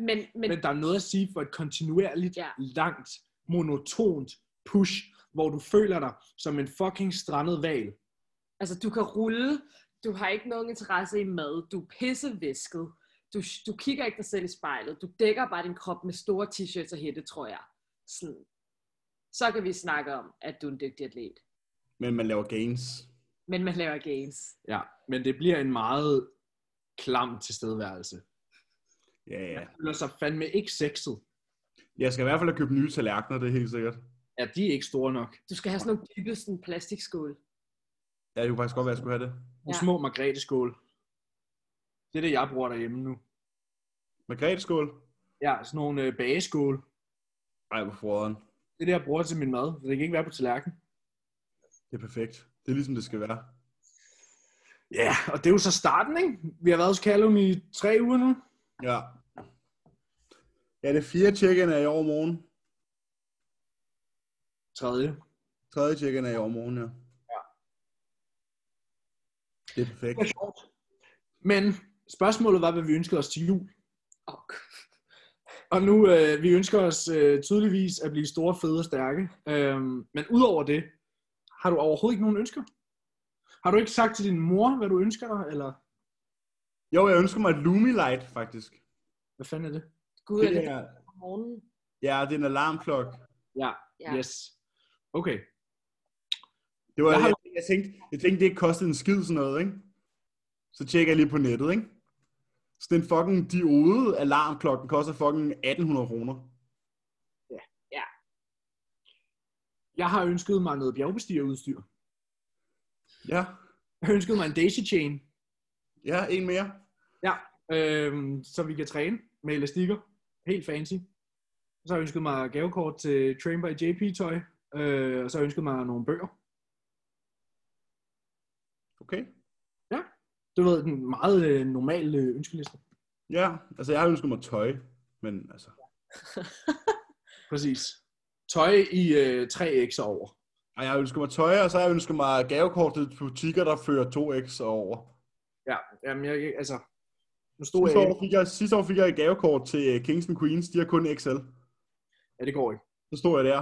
Men, men,
Men der er noget at sige for et kontinuerligt,
Ja.
ja. langt, monotont push, hvor du føler dig som en fucking strandet val.
Altså, du kan rulle, du har ikke nogen interesse i mad, du er pissevæsket, du, du kigger ikke dig selv i spejlet, du dækker bare din krop med store t-shirts og hætte, tror jeg. Sådan. Så kan vi snakke om, at du er en dygtig atlet.
Men man laver gains.
Men man laver gains.
Ja, men det bliver en meget klam tilstedeværelse.
Ja, ja.
Man føler sig fandme ikke sexet.
Jeg skal i hvert fald have købt nye tallerkener, det er helt sikkert.
Ja, de er ikke store nok.
Du skal have sådan nogle dybe sådan plastikskål.
Ja, det kunne faktisk godt være, at jeg skulle have det.
Nogle
Ja.
ja. små margreteskål. Det er det, jeg bruger derhjemme nu.
Margrethe skål.
Ja, sådan nogle øh, bageskål.
Ej, hvor froderen.
Det er det, jeg bruger til min mad. Det kan ikke være på tallerkenen.
Det er perfekt. Det er ligesom det skal være.
Ja, og det er jo så starten, ikke? Vi har været hos Callum i tre uger nu.
Ja. Ja, det er fire chicken er i år morgen.
Tredje.
Tredje chicken er i år morgen, ja.
Ja.
Det er perfekt.
Det var sjovt. Men spørgsmålet var, hvad vi ønskede os til jul.
Oh,
Og nu, øh, vi ønsker os øh, tydeligvis at blive store, fede og stærke. Øhm, men udover det, har du overhovedet ikke nogen ønsker? Har du ikke sagt til din mor, hvad du ønsker dig, eller
Jo, jeg ønsker mig et Lumilight, faktisk.
hvad fanden er det?
Gud, er
Det
det
er,
om morgenen?
ja, det er en alarmklok.
Ja,
Ja.
ja. yes. Okay,
Det var,
Jeg
jeg,
har-
jeg, jeg, tænkte, jeg tænkte, det ikke kostede en skid sådan noget, ikke? Så tjekker jeg lige på nettet, ikke? Så den fucking diode alarmklokken koster fucking 1800 kroner.
jeg har ønsket mig noget bjergbestigerudstyr.
Ja,
Jeg har ønsket mig en daisy chain,
ja, en mere.
øhm, så vi kan træne med elastikker. Helt fancy. Så har jeg ønsket mig gavekort til Train by JP-tøj, øh, og så har jeg ønsket mig nogle bøger.
Okay.
Du ved, den meget øh, normale øh, ønskeliste.
Ja, altså jeg har ønsket mig tøj, men altså,
Præcis. Tøj i øh, 3x og over.
og jeg har ønsket mig tøj, og så har jeg ønsket mig gavekort til butikker, der fører 2x over.
Ja, jamen jeg, altså... Nu stod
Sidste
jeg...
år, fik jeg, sidste år fik jeg et gavekort til øh, Kings and Queens, de har kun XL.
Ja, det går ikke.
Så stod jeg der.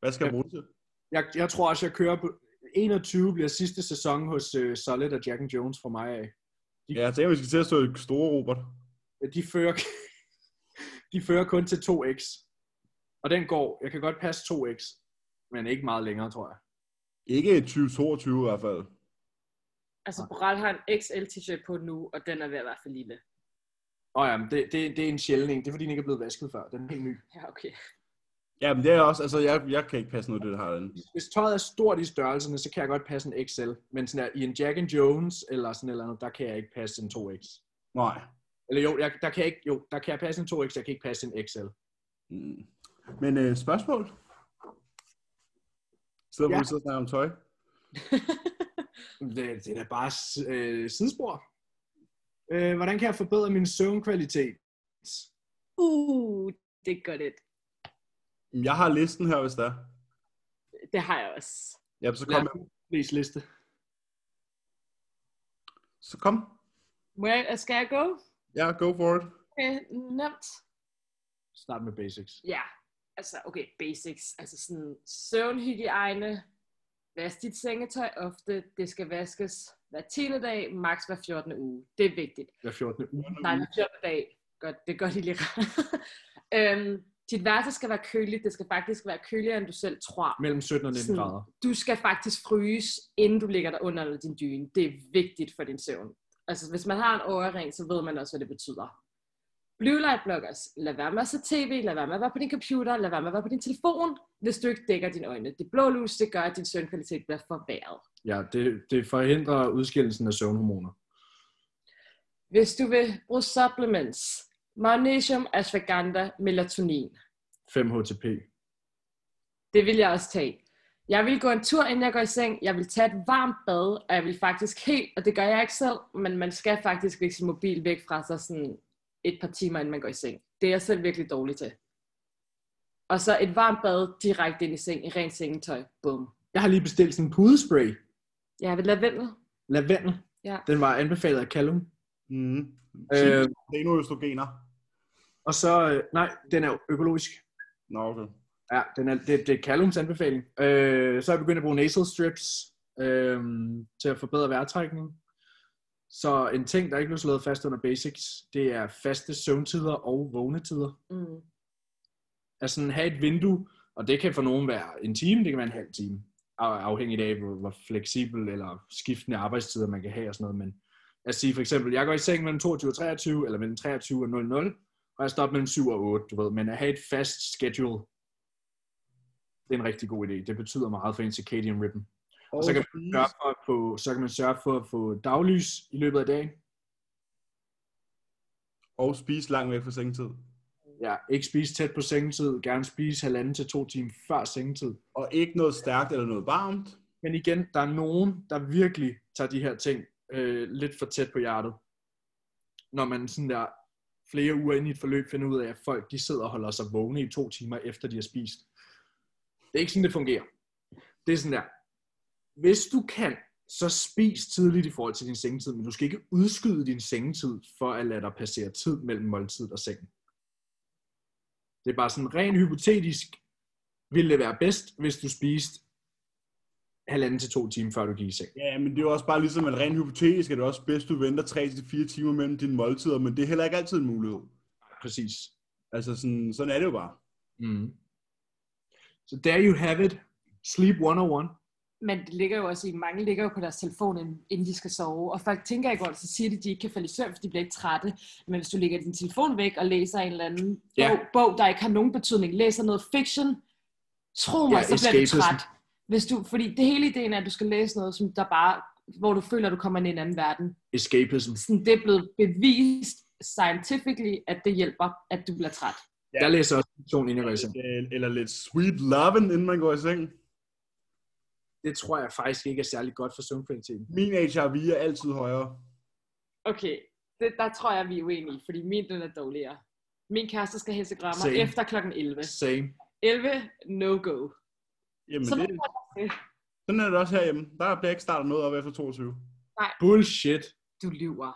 Hvad skal jeg bruge det til?
Jeg, jeg tror også, jeg kører på... 21 bliver sidste sæson hos øh, Solid og Jack and Jones for mig af.
Ja, jeg tænker, vi skal til at stå i store, Robert.
De fører, de fører kun til 2x. Og den går. Jeg kan godt passe 2x, men ikke meget længere, tror jeg.
Ikke 2022 i hvert fald.
Altså, Boral har en XL t-shirt på nu, og den er ved at være for lille.
Åh ja, men det, det, det er en sjælden en. Det er fordi, den ikke er blevet vasket før. Den er helt ny.
Ja, okay.
Jamen det er også, altså jeg, jeg kan ikke passe noget af det, der har den.
Hvis tøjet er stort i størrelserne, så kan jeg godt passe en XL. Men sådan der, i en Jack and Jones eller sådan et eller andet, der kan jeg ikke passe en 2X.
Nej.
Eller jo, jeg, der kan jeg ikke, jo, der kan jeg passe en 2X, jeg kan ikke passe en XL.
Mm. Men øh, spørgsmål? Sidder ja.
Ja.
vi sidder og snakker om tøj?
Det, det er da bare s- øh, sidespor. Øh, hvordan kan jeg forbedre min søvnkvalitet?
Uh, det er godt et.
Jamen, Jeg har listen her, hvis der. er.
Det har jeg også.
Jamen, så kom.
Lad
med-
os liste.
Så kom.
Må jeg, skal jeg gå?
Ja, go for it.
Okay, nemt.
Start med basics.
Ja, altså okay, basics. Altså sådan søvnhygiejne, vask dit sengetøj ofte, det skal vaskes hver 10. dag, maks hver 14. uge. Det er vigtigt.
Hver 14. uge.
Nej, hver 14. dag. Godt, det gør de lige ret. øhm, dit værelse skal være køligt. Det skal faktisk være køligere, end du selv tror.
Mellem 17 og 19
Sådan.
grader.
Du skal faktisk fryse, inden du ligger dig under din dyne. Det er vigtigt for din søvn. Altså, hvis man har en overring, så ved man også, hvad det betyder. Blue light blockers. Lad være med at se tv, lad være med at være på din computer, lad være med at være på din telefon, hvis du ikke dækker dine øjne. Det blå lus, det gør, at din søvnkvalitet bliver forværret.
Ja, det, det forhindrer udskillelsen af søvnhormoner.
Hvis du vil bruge supplements, magnesium, ashwagandha, melatonin.
5-HTP.
Det vil jeg også tage. Jeg vil gå en tur, inden jeg går i seng. Jeg vil tage et varmt bad, og jeg vil faktisk helt, og det gør jeg ikke selv, men man skal faktisk lægge sin mobil væk fra sig sådan et par timer, inden man går i seng. Det er jeg selv virkelig dårlig til. Og så et varmt bad direkte ind i seng, i rent sengetøj. Bum.
Jeg har lige bestilt sådan en pudespray.
Jeg vil lavendel.
Lavendel.
Ja.
Den var anbefalet af Callum.
Mm.
Øh,
Øh. Denoøstrogener.
og så, øh, nej, den er jo økologisk.
Nå, okay.
Ja, den er, det, det er Callums anbefaling. Øh, så er jeg begyndt at bruge nasal strips øh, til at forbedre vejrtrækningen. Så en ting, der ikke blev slået fast under basics, det er faste søvntider og vågnetider.
Mm.
Altså sådan have et vindue, og det kan for nogen være en time, det kan være en halv time, af- afhængigt af, hvor, hvor fleksibel eller skiftende arbejdstider man kan have og sådan noget. Men at sige for eksempel, jeg går i seng mellem 22 og 23, eller mellem 23 og 00, og jeg stopper mellem 7 og 8, du ved. Men at have et fast schedule, det er en rigtig god idé. Det betyder meget for en circadian rhythm.
Og,
så kan
man
Sørge for at få, så kan man sørge for at få daglys i løbet af dagen.
og spise langt væk fra sengetid.
Ja, ikke spise tæt på sengetid. Gerne spise halvanden til to timer før sengetid.
Og ikke noget stærkt eller noget varmt.
Men igen, der er nogen, der virkelig tager de her ting øh, lidt for tæt på hjertet. Når man sådan der flere uger inde i et forløb finder ud af, at folk de sidder og holder sig vågne i to timer efter de har spist. Det er ikke sådan, det fungerer. Det er sådan der. Hvis du kan, så spis tidligt i forhold til din sengetid, men du skal ikke udskyde din sengetid for at lade dig passere tid mellem måltid og sengen. Det er bare sådan rent hypotetisk, ville det være bedst, hvis du spiste halvanden til to timer, før du gik i seng.
Ja, men det er jo også bare ligesom, at rent hypotetisk er det også bedst, du venter 3-4 timer mellem dine måltider, men det er heller ikke altid en mulighed.
Præcis.
Altså, sådan, sådan er det jo bare.
Mm. Så there you have it. Sleep 101.
Men det ligger jo også i, mange ligger jo på deres telefon, inden- inden de skal sove. Og folk tænker ikke over det, så siger de, at de ikke kan falde i søvn, fordi de bliver ikke trætte. Men hvis du lægger din telefon væk og læser en eller anden
Ja.
ja. bog, bog, der ikke har nogen betydning, læser noget fiction, tro mig,
Ja,
ja, så bliver du
escapism.
træt. Hvis du, fordi det hele ideen er, at du skal læse noget, som der bare, hvor du føler, at du kommer ind i en anden verden.
Escapism.
Sådan, det er blevet bevist scientifically, at det hjælper, at du bliver træt.
Ja. Jeg læser også fiktion inden jeg går i seng.
Øh, Eller lidt sweet loving, inden man går i seng.
Det tror jeg faktisk ikke er særlig godt for søvnkvaliteten.
Min HRV er altid højere.
Okay, det, der tror jeg, vi er uenige, fordi min den er dårligere. Min kæreste skal helsegrammer
Same.
efter klokken 11.
Same.
11, no go.
Jamen,
Så
det,
det...
sådan er det også herhjemme. Der bliver ikke startet noget op efter 22.
Bullshit.
du lyver.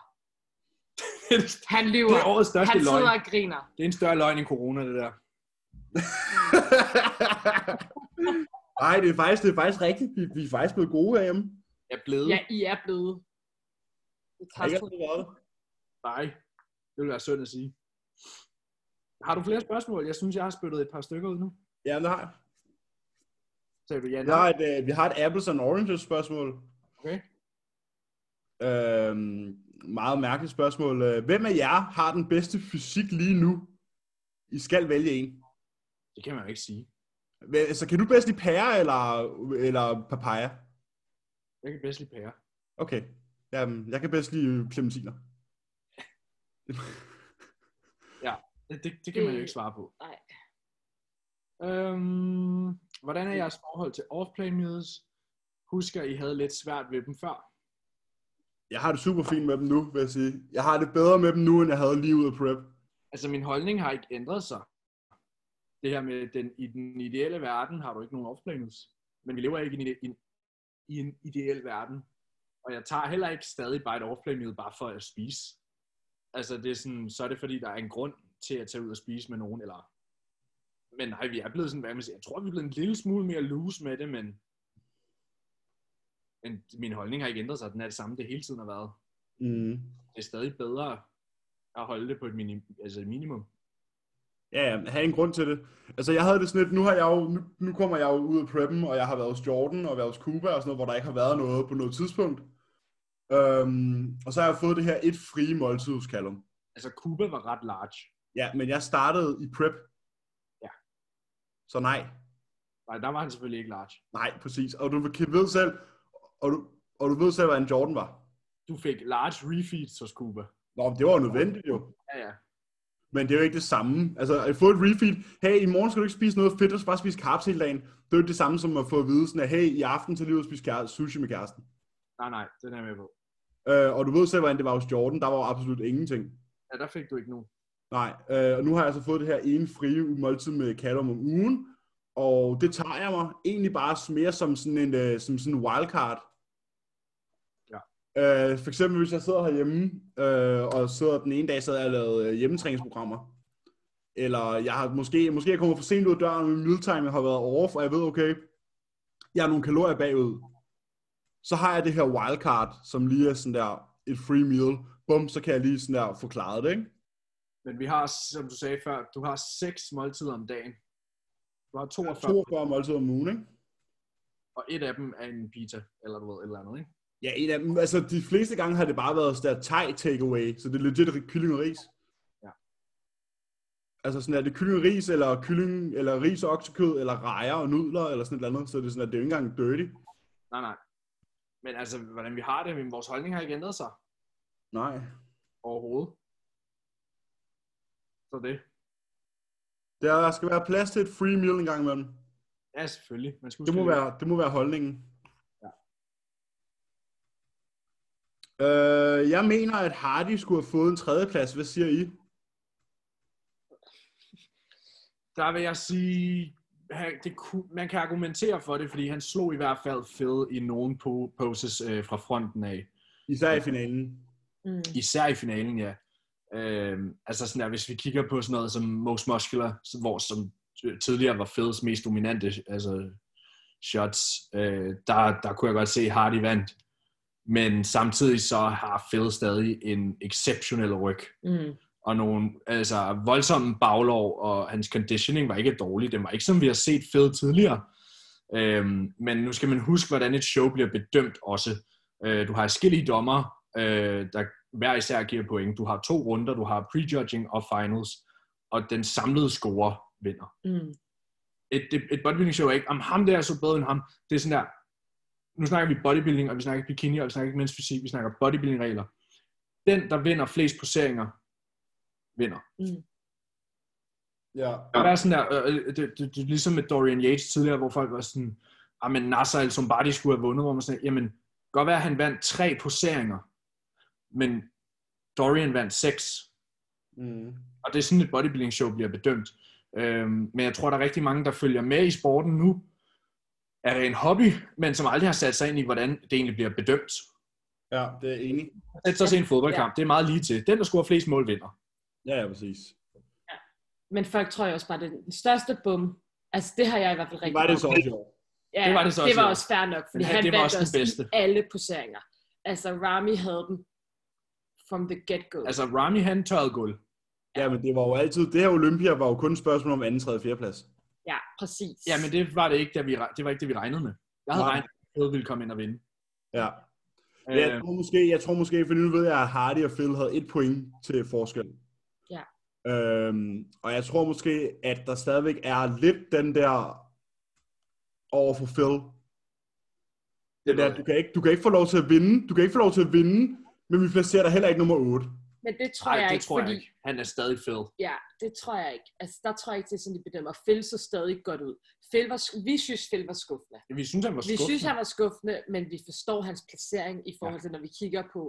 Det er det-
Han
det
lyver.
er årets største
Han
løgn.
sidder og griner.
Det er en større løgn end corona, det der.
Nej, det er faktisk, det er faktisk rigtigt. Vi, vi er faktisk blevet gode herhjemme.
Jeg er blevet.
Ja, I er blevet. Det
Har
er
ikke
træls.
altid været det.
Nej. Det vil være synd at sige. Har du flere spørgsmål? Jeg synes, jeg har spyttet et par stykker ud nu.
Ja, det har jeg.
Sagde du ja?
Vi har et, øh, vi har et apples and oranges spørgsmål.
Okay.
Øhm, meget mærkeligt spørgsmål. Øh, Hvem af jer har den bedste fysik lige nu? I skal vælge en.
Det kan man jo ikke sige.
Men, så kan du bedst lide pære eller, eller papaya?
Jeg kan bedst lide pære.
Okay. Jamen, jeg kan bedst lide clementiner.
Det, det, det kan man jo
Det-
ikke svare på.
nej.
Øhm, hvordan er jeres forhold til off-play meals? Husker, I havde lidt svært ved dem før.
Jeg har det super fint med dem nu, vil jeg sige. Jeg har det bedre med dem nu, end jeg havde lige ud af prep.
Altså, min holdning har ikke ændret sig. Det her med, den, i den ideelle verden har du ikke nogen off-play meals. Men vi lever ikke i en, ide- i en, i en ideel verden. Og jeg tager heller ikke stadig bare et off-play meal, bare for at spise. Altså, det er sådan, så er det fordi, der er en grund til at tage ud og spise med nogen, eller... Men nej, vi er blevet sådan, hvad man siger, jeg tror, vi er blevet en lille smule mere loose med det, men... Men min holdning har ikke ændret sig, den er det samme, det hele tiden har været.
Mm.
Det er stadig bedre at holde det på et minim, altså et minimum.
Ja, ja, have en grund til det. Altså, jeg havde det sådan lidt, nu, har jeg jo, nu, nu kommer jeg jo ud af preppen, og jeg har været hos Jordan og været hos Cuba og sådan noget, hvor der ikke har været noget på noget tidspunkt. Øhm, og så har jeg fået det her et frie måltid hos Callum.
Altså, Cuba var ret large.
Ja, men jeg startede i prep.
Ja.
Så nej.
Nej, der var han selvfølgelig ikke large.
Nej, præcis. Og du kan- ved selv, og du, og du ved selv, hvordan Jordan var.
Du fik large refeeds hos Cuba.
Nå, men det var jo nødvendigt jo.
Ja, ja.
Men det er jo ikke det samme. Altså, at få et refeed. Hey, i morgen skal du ikke spise noget fedt, du skal bare spise carbs hele dagen. Det er jo ikke det samme som at få at vide sådan, at hey, i aften til lige ud og spise kære- sushi med kæresten.
Nej, nej, den er jeg med på.
Øh, og du ved selv, hvordan det var hos Jordan. Der var jo absolut ingenting.
Ja, der fik du ikke nogen.
Nej, øh, og nu har jeg så fået det her ene frie måltid med Callum om ugen. Og det tager jeg mig egentlig bare mere som sådan en, øh, som sådan en wildcard.
Ja.
Øh, for eksempel hvis jeg sidder herhjemme, øh, og sidder den ene dag, så jeg lavet øh, hjemmetræningsprogrammer. Eller jeg har måske, måske jeg kommer for sent ud af døren, og min meal time har været off, og jeg ved, okay, jeg har nogle kalorier bagud. Så har jeg det her wildcard, som lige er sådan der et free meal. Bum, så kan jeg lige sådan der forklare det, ikke?
Men vi har, som du sagde før, du har seks måltider om dagen. Du har 42,
42 måltider om ugen, ikke?
og et af dem er en pizza, eller du ved, et eller andet, ikke?
Ja, en af dem. Altså, de fleste gange har det bare været sådan der thai takeaway, så det er legit kylling og ris.
Ja.
Altså sådan, er det kylling og ris, eller kylling, eller ris og oksekød, eller rejer og nudler, eller sådan et eller andet, så det er sådan, at det er jo ikke engang dirty.
Nej, nej. Men altså, hvordan vi har det, men vores holdning har ikke ændret sig
Nej.
overhovedet. Så det.
Der skal være plads til et free meal en gang imellem.
Ja, selvfølgelig. Man skal
Det må
huske-
være, det må være holdningen.
Ja.
Øh, jeg mener, at Hardy skulle have fået en tredjeplads. Hvad siger I?
Der vil jeg sige, han- det, ku- man kan argumentere for det, fordi han slog i hvert fald fed i nogle po- poses øh, fra fronten af.
Især i finalen.
Mm.
Især i finalen, ja. Øhm, altså sådan der, hvis vi kigger på sådan noget som Most Muscular, som- hvor som tidligere var Feds mest dominante altså shots, øh, der, der kunne jeg godt se at Hardy vandt. Men samtidig så har Fed stadig en exceptionel ryg
Mm.
og nogle altså, voldsomme baglov, og hans conditioning var ikke dårlig. Den var ikke, som vi har set fed tidligere. Øhm, men nu skal man huske, hvordan et show bliver bedømt også. Øh, du har forskellige dommer, øh, der hver især giver point. Du har to runder, du har prejudging og finals, og den samlede score vinder.
Mm.
Et, et, et bodybuilding show er ikke, om ham der er så bedre end ham. Det er sådan der, nu snakker vi bodybuilding, og vi snakker ikke bikini, og vi snakker ikke mænds fysik, vi snakker bodybuilding-regler. Den, der vinder flest poseringer, vinder.
Ja.
Der er sådan der, øh, øh, det, det, det, er ligesom med Dorian Yates tidligere, hvor folk var sådan, ah, men Nasser al Sombadi skulle have vundet, hvor man sådan, jamen, godt være, at han vandt tre poseringer, men Dorian vandt seks.
Mm.
Og det er sådan, et bodybuilding show bliver bedømt. Øhm, men jeg tror, der er rigtig mange, der følger med i sporten nu, er det en hobby, men som aldrig har sat sig ind i, hvordan det egentlig bliver bedømt.
Ja, det er jeg enig.
Sæt sig til en fodboldkamp, det er meget lige til. Den, der scorer flest mål, vinder.
Ja, ja, præcis.
Men folk tror jo også bare, det er den største bum. Altså, det har jeg i hvert fald
Det
rigtig
var det så
meget.
også i år.
Ja,
Det var det så
det
også,
var
ja.
også fair nok, fordi
Men
han
det var
vandt
også
også,
den bedste.
i alle poseringer. Altså, Rami havde dem from the get-go.
Altså, Rami, han tørrede guld.
Ja, men det var jo altid, det her Olympia var jo kun et spørgsmål om anden, tredje, fjerde plads.
ja, præcis.
Ja, men det var det ikke, da vi, re- det var ikke det, vi regnede med. Jeg havde
Nej.
regnet med, at Fed ville komme ind og vinde.
Ja.
Øh,
Jeg tror måske, jeg tror måske for nu ved jeg, at Hardy og Phil havde et point til forskel.
Ja.
Øhm, og jeg tror måske, at der stadigvæk er lidt den der over for Phil. Det
ved
der,
jeg.
du, kan ikke, du kan ikke få lov til at vinde, du kan ikke få lov til at vinde, men vi placerer dig heller ikke nummer 8.
Men det tror
Nej,
jeg
det
ikke,
tror
fordi...
jeg ikke. Han er stadig Phil.
Ja, det tror jeg ikke. Altså, der tror jeg ikke, det er sådan, de bedømmer. Phil så stadig godt ud. Phil var, sk- vi synes, Phil var skuffende.
Vi synes, han var
Vi
skuffende.
synes, han var skuffende, men vi forstår hans placering i forhold
Ja.
til, når vi kigger på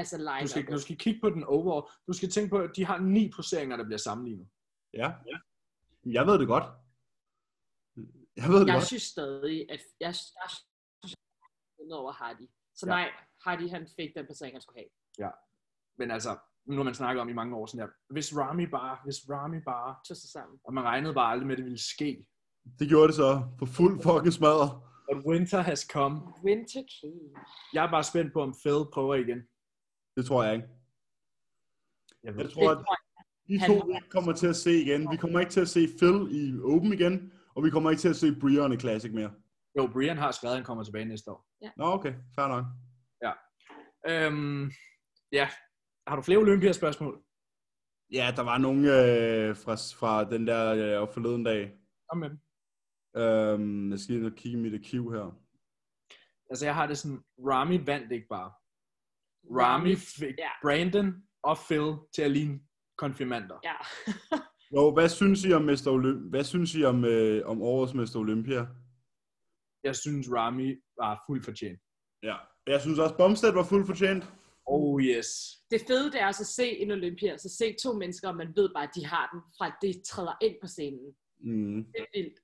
altså line
Du skal, du skal kigge på den overall. Du skal tænke på, at de har ni placeringer, der bliver sammenlignet.
Ja. Jeg ved det godt. Jeg ved det
Jeg
godt.
synes stadig, at jeg, jeg synes, at han over Hardy. Så
Ja.
ja. nej, Hardy han fik den placering, han skulle have.
Men altså, nu har man snakket om i mange år sådan her. Hvis Rami bare, hvis Rami bare,
Tog sig sammen.
og man regnede bare aldrig med, at det ville ske.
Det gjorde det så. For fuld fucking smadret.
But winter has come.
Winter King.
Jeg er bare spændt på, om Phil prøver igen.
Det tror jeg ikke.
Jeg ved
Jeg
det.
tror, at
Det tror
de
Han-
to vi ikke kommer til at se igen. Vi kommer ikke til at se Phil i Open igen, og vi kommer ikke til at se Brian i Classic mere.
Jo, Brian har skrevet, at han kommer tilbage næste år.
Nå, okay. Fair nok.
Øhm, ja. Har du flere Olympia-spørgsmål?
Ja, der var nogen øh, fra, fra den der øh, forleden dag.
Kom med dem.
Øhm, jeg skal lige ind og kigge i mit arkiv her.
Altså, jeg har det sådan, Rami vandt ikke bare. Rami fik
Ja.
Brandon og Phil til at ligne konfirmander.
Ja.
Jo, hvad synes I om, Mester Olymp- hvad synes I om, øh, om årets Mester Olympia?
Jeg synes, Rami var fuldt fortjent.
Ja. Jeg synes også, Bomstedt var fuldt fortjent.
Oh yes.
det fede det er også at se en Olympia, så se to mennesker, og man ved bare, at de har den, fra at de træder ind på scenen.
Mm.
Det er vildt.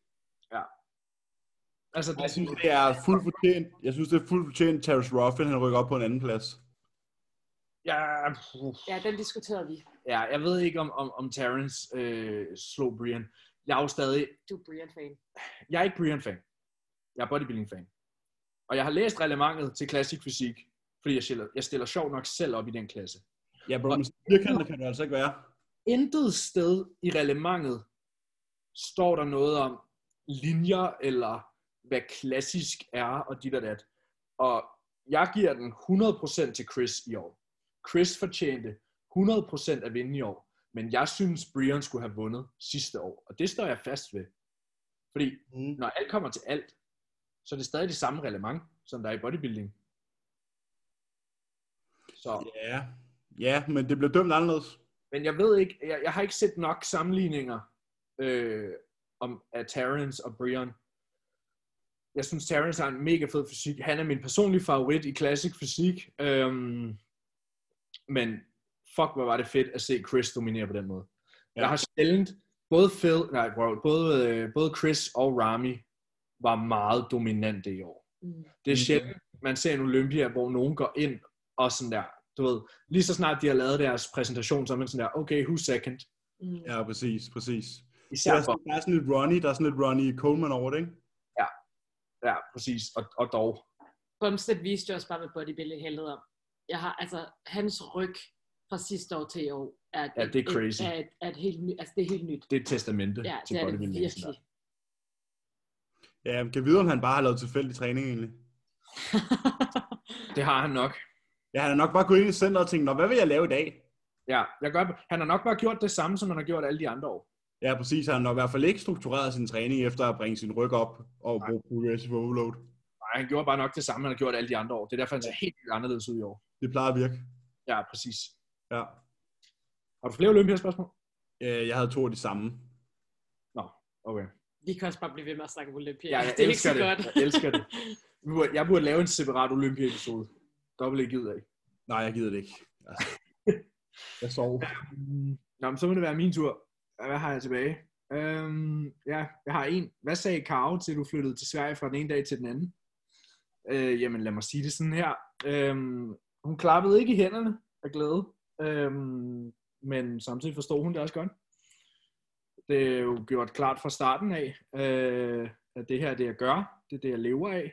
Altså, det,
Jeg synes, det er fuldt fortjent. Jeg synes, det er fuldt fortjent, Terrence Ruffin, han rykker op på en anden plads.
ja, puh.
Ja, den diskuterede vi.
ja, jeg ved ikke, om, om, om Terrence øh, slog Brian. Jeg er jo stadig
Du er Brian-fan.
jeg er ikke Brian-fan. Jeg er bodybuilding-fan. Og jeg har læst reglementet til klassisk fysik, fordi jeg stiller, jeg stiller sjov nok selv op i den klasse.
Ja, bro, men firkantet kan det altså ikke være.
Intet sted i reglementet står der noget om linjer, eller hvad klassisk er, og dit og dat. Og jeg giver den 100% til Chris i år. Chris fortjente 100% at vinde i år, men jeg synes, Brian skulle have vundet sidste år, og det står jeg fast ved. Fordi
Mm.
når alt kommer til alt, så er det stadig det samme relevant, som der er i bodybuilding. Så,
Ja. ja, men det bliver dømt anderledes.
men jeg ved ikke, jeg, jeg har ikke set nok sammenligninger øh, om af Terrence og Brian. Jeg synes, Terrence har en mega fed fysik. Han er min personlige favorit i klassisk fysik. Øhm, men fuck, hvor var det fedt at se Chris dominere på den måde. Ja.
Ja.
Jeg har sjældent, både, Phil, nej, wow, både, øh, både Chris og Rami var meget dominante i år.
Mm.
Det er
Mhm.
sjældent, man ser en Olympia, hvor nogen går ind og sådan der, du ved, lige så snart de har lavet deres præsentation, så er man sådan der, okay, who's second?
Mm.
Ja, præcis, præcis.
Især
Der er,
for,
sådan- der er sådan lidt Ronnie, der er sådan lidt Ronnie Coleman over det, ikke?
ja, præcis, og, og dog.
Bumstead viste jo også bare med bodybuilding heldet om. Jeg har, altså, hans ryg fra sidste år til i år er,
Ja, det er crazy.
Er, er, er et helt nyt, altså, det er helt nyt.
Det er et testamente
Ja,
til
det er det
bodybuilding.
virkelig.
Ja, men kan vide, om han bare har lavet tilfældig træning egentlig.
Det har han nok.
Ja, han har nok bare gået ind i centret og tænkt, Nå, hvad vil jeg lave i dag?
Ja, jeg gør, han har nok bare gjort det samme, som han har gjort alle de andre år.
Ja, præcis. Han har nok i hvert fald ikke struktureret sin træning efter at bringe sin ryg op og bruge progressive overload.
Nej, han gjorde bare nok det samme, han har gjort alle de andre år. Det er derfor, han ser helt vildt anderledes ud i år.
Det plejer at virke.
Ja, præcis.
Ja.
Har du flere Olympia-spørgsmål?
Øh, Jeg havde to af de samme.
Okay.
Vi kan også bare blive ved med at snakke om Olympia.
Ja, jeg
det er ikke
elsker
så
det.
godt.
Jeg elsker det. Vi burde- Jeg burde lave en separat Olympia-episode. Der vil jeg givet af.
Nej, jeg gider det ikke. Altså, jeg sov.
Mm. Nå, men så må det være min tur. Hvad har jeg tilbage? Øhm, ja, jeg har en. Hvad sagde Karo til, du flyttede til Sverige fra den ene dag til den anden? Øh, jamen, lad mig sige det sådan her. Øhm, hun klappede ikke i hænderne af glæde, øhm, men samtidig forstod hun det også godt. Det er jo gjort klart fra starten af, øh, at det her er det, jeg gør. Det er det, jeg lever af.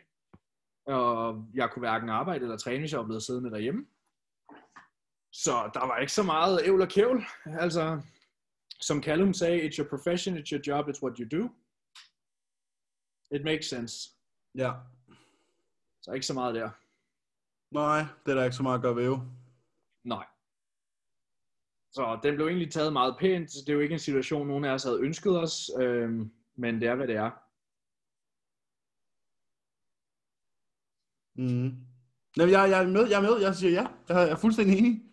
Og jeg kunne hverken arbejde eller træne, hvis jeg var blevet siddende derhjemme. Så der var ikke så meget ævl og kævl. Altså, som Callum sagde, it's your profession, it's your job, it's what you do. It makes sense.
Ja.
Så ikke så meget der.
Nej, det er der ikke så meget at gøre ved jo.
Nej. Så den blev egentlig taget meget pænt. Det er jo ikke en situation, nogen af os havde ønsket os, øhm, men det er, hvad det er.
Mm. Jamen, jeg, jeg er med, jeg er med, jeg siger ja. Jeg er, jeg er fuldstændig enig.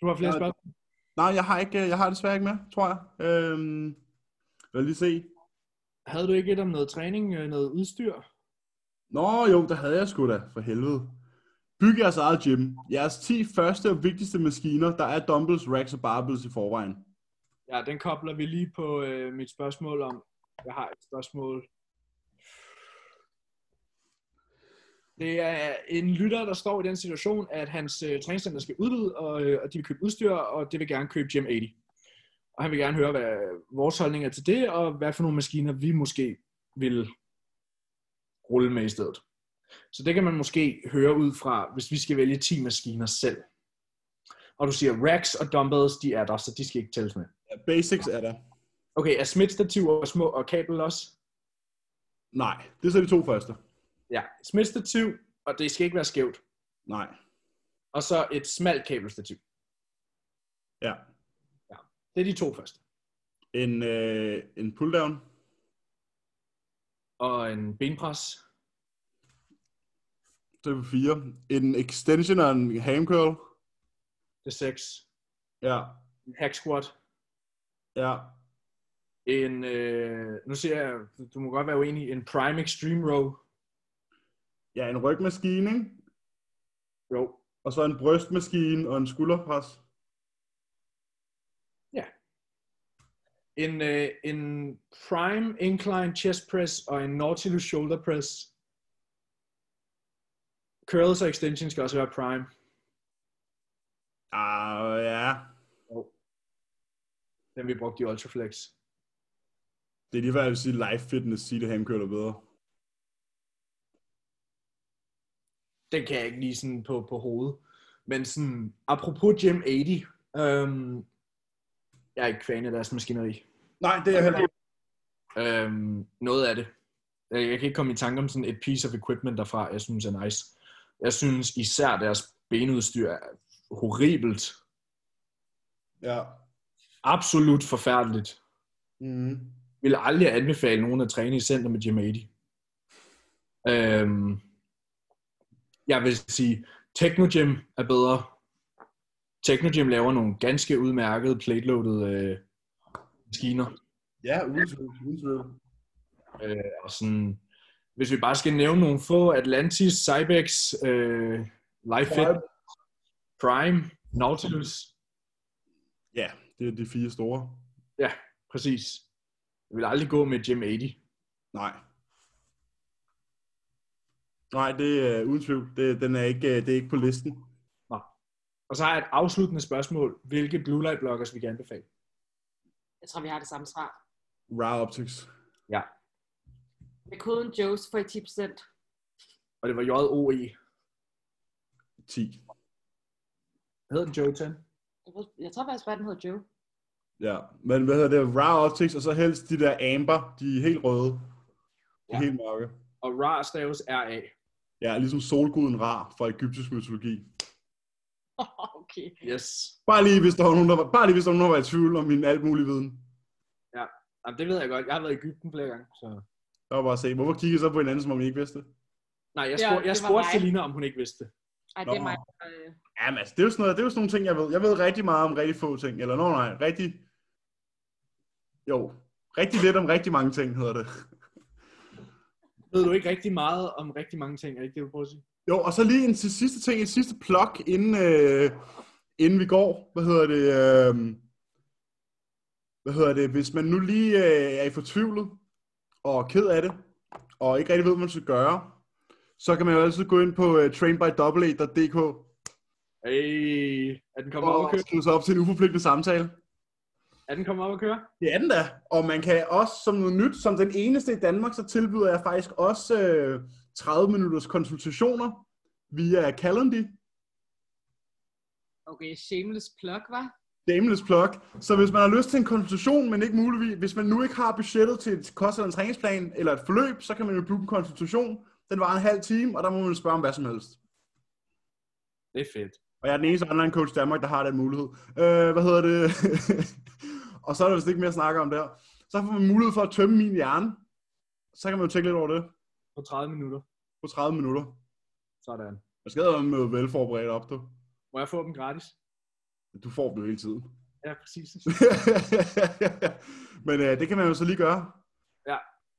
Du har flere
Ja.
spørgsmål.
Nej, jeg har, ikke, jeg har desværre ikke med, tror jeg. Øhm, lad os lige se.
Havde du ikke et om noget træning, øh, noget udstyr?
Nå jo, der havde jeg sgu da, for helvede. Byg jeres eget gym. Jeres 10 første og vigtigste maskiner, der er dumbbells, racks og barbells i forvejen.
Ja, den kobler vi lige på øh, mit spørgsmål om. Jeg har et spørgsmål. Det er en lytter, der står i den situation, at hans øh, træningscenter skal udvide, og, øh, og de vil købe udstyr, og det vil gerne købe Gym 80. Og han vil gerne høre, hvad vores holdning er til det, og hvad for nogle maskiner vi måske vil rulle med i stedet. Så det kan man måske høre ud fra, hvis vi skal vælge 10 maskiner selv. Og du siger, racks og dumbbells, de er der, så de skal ikke tælles med.
Ja, Basics er der.
Okay, er smitstativer og små og kabel også?
Nej, det er så de to første.
Ja, smitstativ, og det skal ikke være skævt.
Nej.
Og så et smalt kabelstativ.
Ja.
Det er de to første.
En, øh, en pulldown.
Og en benpres.
Det er fire. En extension og en ham curl.
Det er seks.
Ja.
En hack squat.
Ja.
En, øh, nu siger jeg, du må godt være uenig, en prime extreme row.
Ja, en rygmaskine, ikke?
Jo.
Og så en brystmaskine og en skulderpres.
En, øh, en prime incline chest press og en nautilus shoulder press. Curls og extensions skal også være prime.
Ah, ja.
Den vi brugte i Ultraflex.
Det er lige hvad jeg vil sige, live fitness siger det ham curl er bedre.
den kan jeg ikke lige sådan på, på hovedet. Men sådan, apropos Gym 80, øhm, jeg er ikke fan af deres maskineri.
Nej, det er jeg heller ikke.
Øhm, noget af det. Øh, Jeg kan ikke komme i tanke om sådan et piece of equipment derfra, jeg synes er nice. Jeg synes især deres benudstyr er horribelt.
Ja.
Absolut forfærdeligt.
Mm.
vil aldrig anbefale nogen at træne i center med Jim 80. Øhm, jeg vil sige, Technogym er bedre. Technogym laver nogle ganske udmærkede plateloaded øh, maskiner.
Ja, uden tvivl, uden tvivl.
Øh, og sådan, hvis vi bare skal nævne nogle få, Atlantis, Cybex, øh, Lifefit,
Prime.
Prime, Nautilus,
Ja, det er de fire store.
præcis. Jeg vil aldrig gå med Jim 80.
Nej. Nej, det er øh, uden tvivl. Det, den er ikke, øh, det er ikke på listen.
Og så har jeg et afsluttende spørgsmål. Hvilke blue light blockers vi kan anbefale?
Jeg tror, vi har det samme svar.
Raw Optics.
Med koden Joes får I 10%.
Og det var E. J-O-E.
10.
Hedder den Joe 10?
Jeg ved- Jeg tror faktisk, bare, den hedder Joe.
Ja, men hvad hedder det? Raw Optics, og så helst de der amber. De er helt røde. De er
Ja.
helt mørke.
Og Ra staves R-A.
Ja, ligesom solguden Ra fra egyptisk mytologi.
okay.
Yes.
Bare lige, hvis der var nogen, der var, bare lige, hvis der var nogen, der var i tvivl om min alt mulig viden.
Jamen, det ved jeg godt. Jeg har været i Ægypten flere gange. Så...
Der var bare at se, hvorfor kiggede I så på hinanden, som om I ikke vidste det?
Nej, jeg,
Ja,
spurgte, jeg
det var
spurgte
mig.
Selina, om hun ikke vidste det.
Ej, det
Nå.
er mig. der, øh,
Jamen altså, det er jo sådan, noget, det er jo sådan nogle ting, jeg ved. Jeg ved rigtig meget om rigtig få ting. Eller nå nej, rigtig... Jo, rigtig lidt om rigtig mange ting, hedder det.
Ved du ikke rigtig meget om rigtig mange ting? Er det ikke det, du prøver at sige?
Jo, og så lige en til sidste ting, en sidste plug, inden, øh, inden vi går. Hvad hedder det? Øh, hvad hedder det? Hvis man nu lige øh, er i fortvivlet og ked af det, og ikke rigtig ved, hvad man skal gøre, så kan man jo altid gå ind på øh, trainbydouble.dk
Ey, er den kommet op at
og
køre?
skrive sig op til en uforpligtende samtale.
Er den kommet op at køre?
Det er den da. Og man kan også som noget nyt, som den eneste i Danmark, så tilbyder jeg faktisk også øh, 30 minutters konsultationer via Calendly.
Okay, shameless plug, var.
Dameless plug. Så hvis man har lyst til en konsultation, men ikke muligvis, hvis man nu ikke har budgettet til et kost eller en træningsplan eller et forløb, så kan man jo booke en konsultation. Den var en halv time, og der må man spørge om hvad som helst.
Det er fedt.
Og jeg er den eneste online coach i Danmark, der har den mulighed. Øh, hvad hedder det? og så er der vist ikke mere at snakke om der. Så får man mulighed for at tømme min hjerne. Så kan man jo tænke lidt over det.
På 30 minutter.
på 30 minutter.
Sådan.
Jeg skal have møde velforberedt op, du.
Må jeg få dem gratis?
Du får dem jo hele tiden.
Ja, præcis.
Men øh, det kan man jo så lige gøre.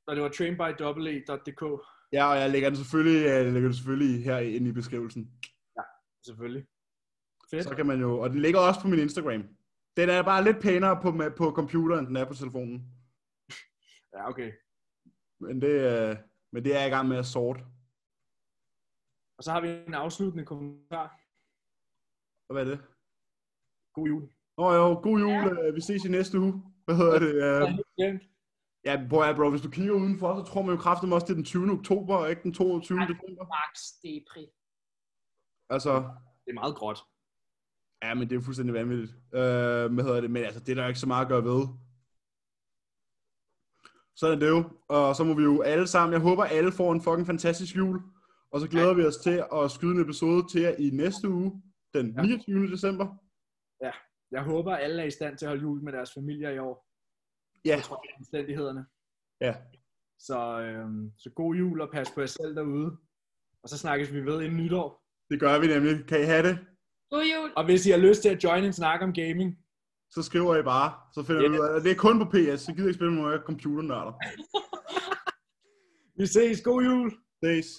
Og det var trainbydouble.dk,
Ja, og jeg lægger den selvfølgelig, øh, jeg lægger den selvfølgelig her inde i beskrivelsen.
selvfølgelig. Fedt.
Så kan man jo, og den ligger også på min Instagram. Den er bare lidt pænere på, ma- på computeren, end den er på telefonen.
Ja, okay.
Men det, øh, men det er jeg i gang med at sorte.
Og så har vi en afsluttende kommentar.
Og hvad er det?
God jul.
Nå jo, god jul. øh, Vi ses i næste uge. Hvad hedder det?
Ja.
øh, Ja, prøv at, bro, hvis du kigger udenfor, så tror man jo kraftigt også, det er den 20. oktober, og ikke den 22.
Ej.
december.
Max Depri.
Altså,
Det er meget gråt.
Ja, men det er jo fuldstændig vanvittigt. Øh, hvad hedder det? Men altså, det er der jo ikke så meget at gøre ved. Sådan er det jo. Og så må vi jo alle sammen, jeg håber alle får en fucking fantastisk jul. Og så glæder vi os til at skyde en episode til jer i næste uge, den
Ja.
29. december.
Jeg håber, alle er i stand til at holde jul med deres familier i år.
Ja,
Jeg tror, det er omstændighederne.
ja.
Så, øhm, så god jul og pas på jer selv derude. Og så snakkes vi ved inden nytår.
det gør vi nemlig. Kan I have det?
God jul!
Og hvis I har lyst til at join en snak om gaming,
Så skriver I bare. Så finder vi
Ja.
ud af det. Det er kun på PS. Jeg gider ikke spille med nogen computernørder.
vi ses. God jul!
Ses.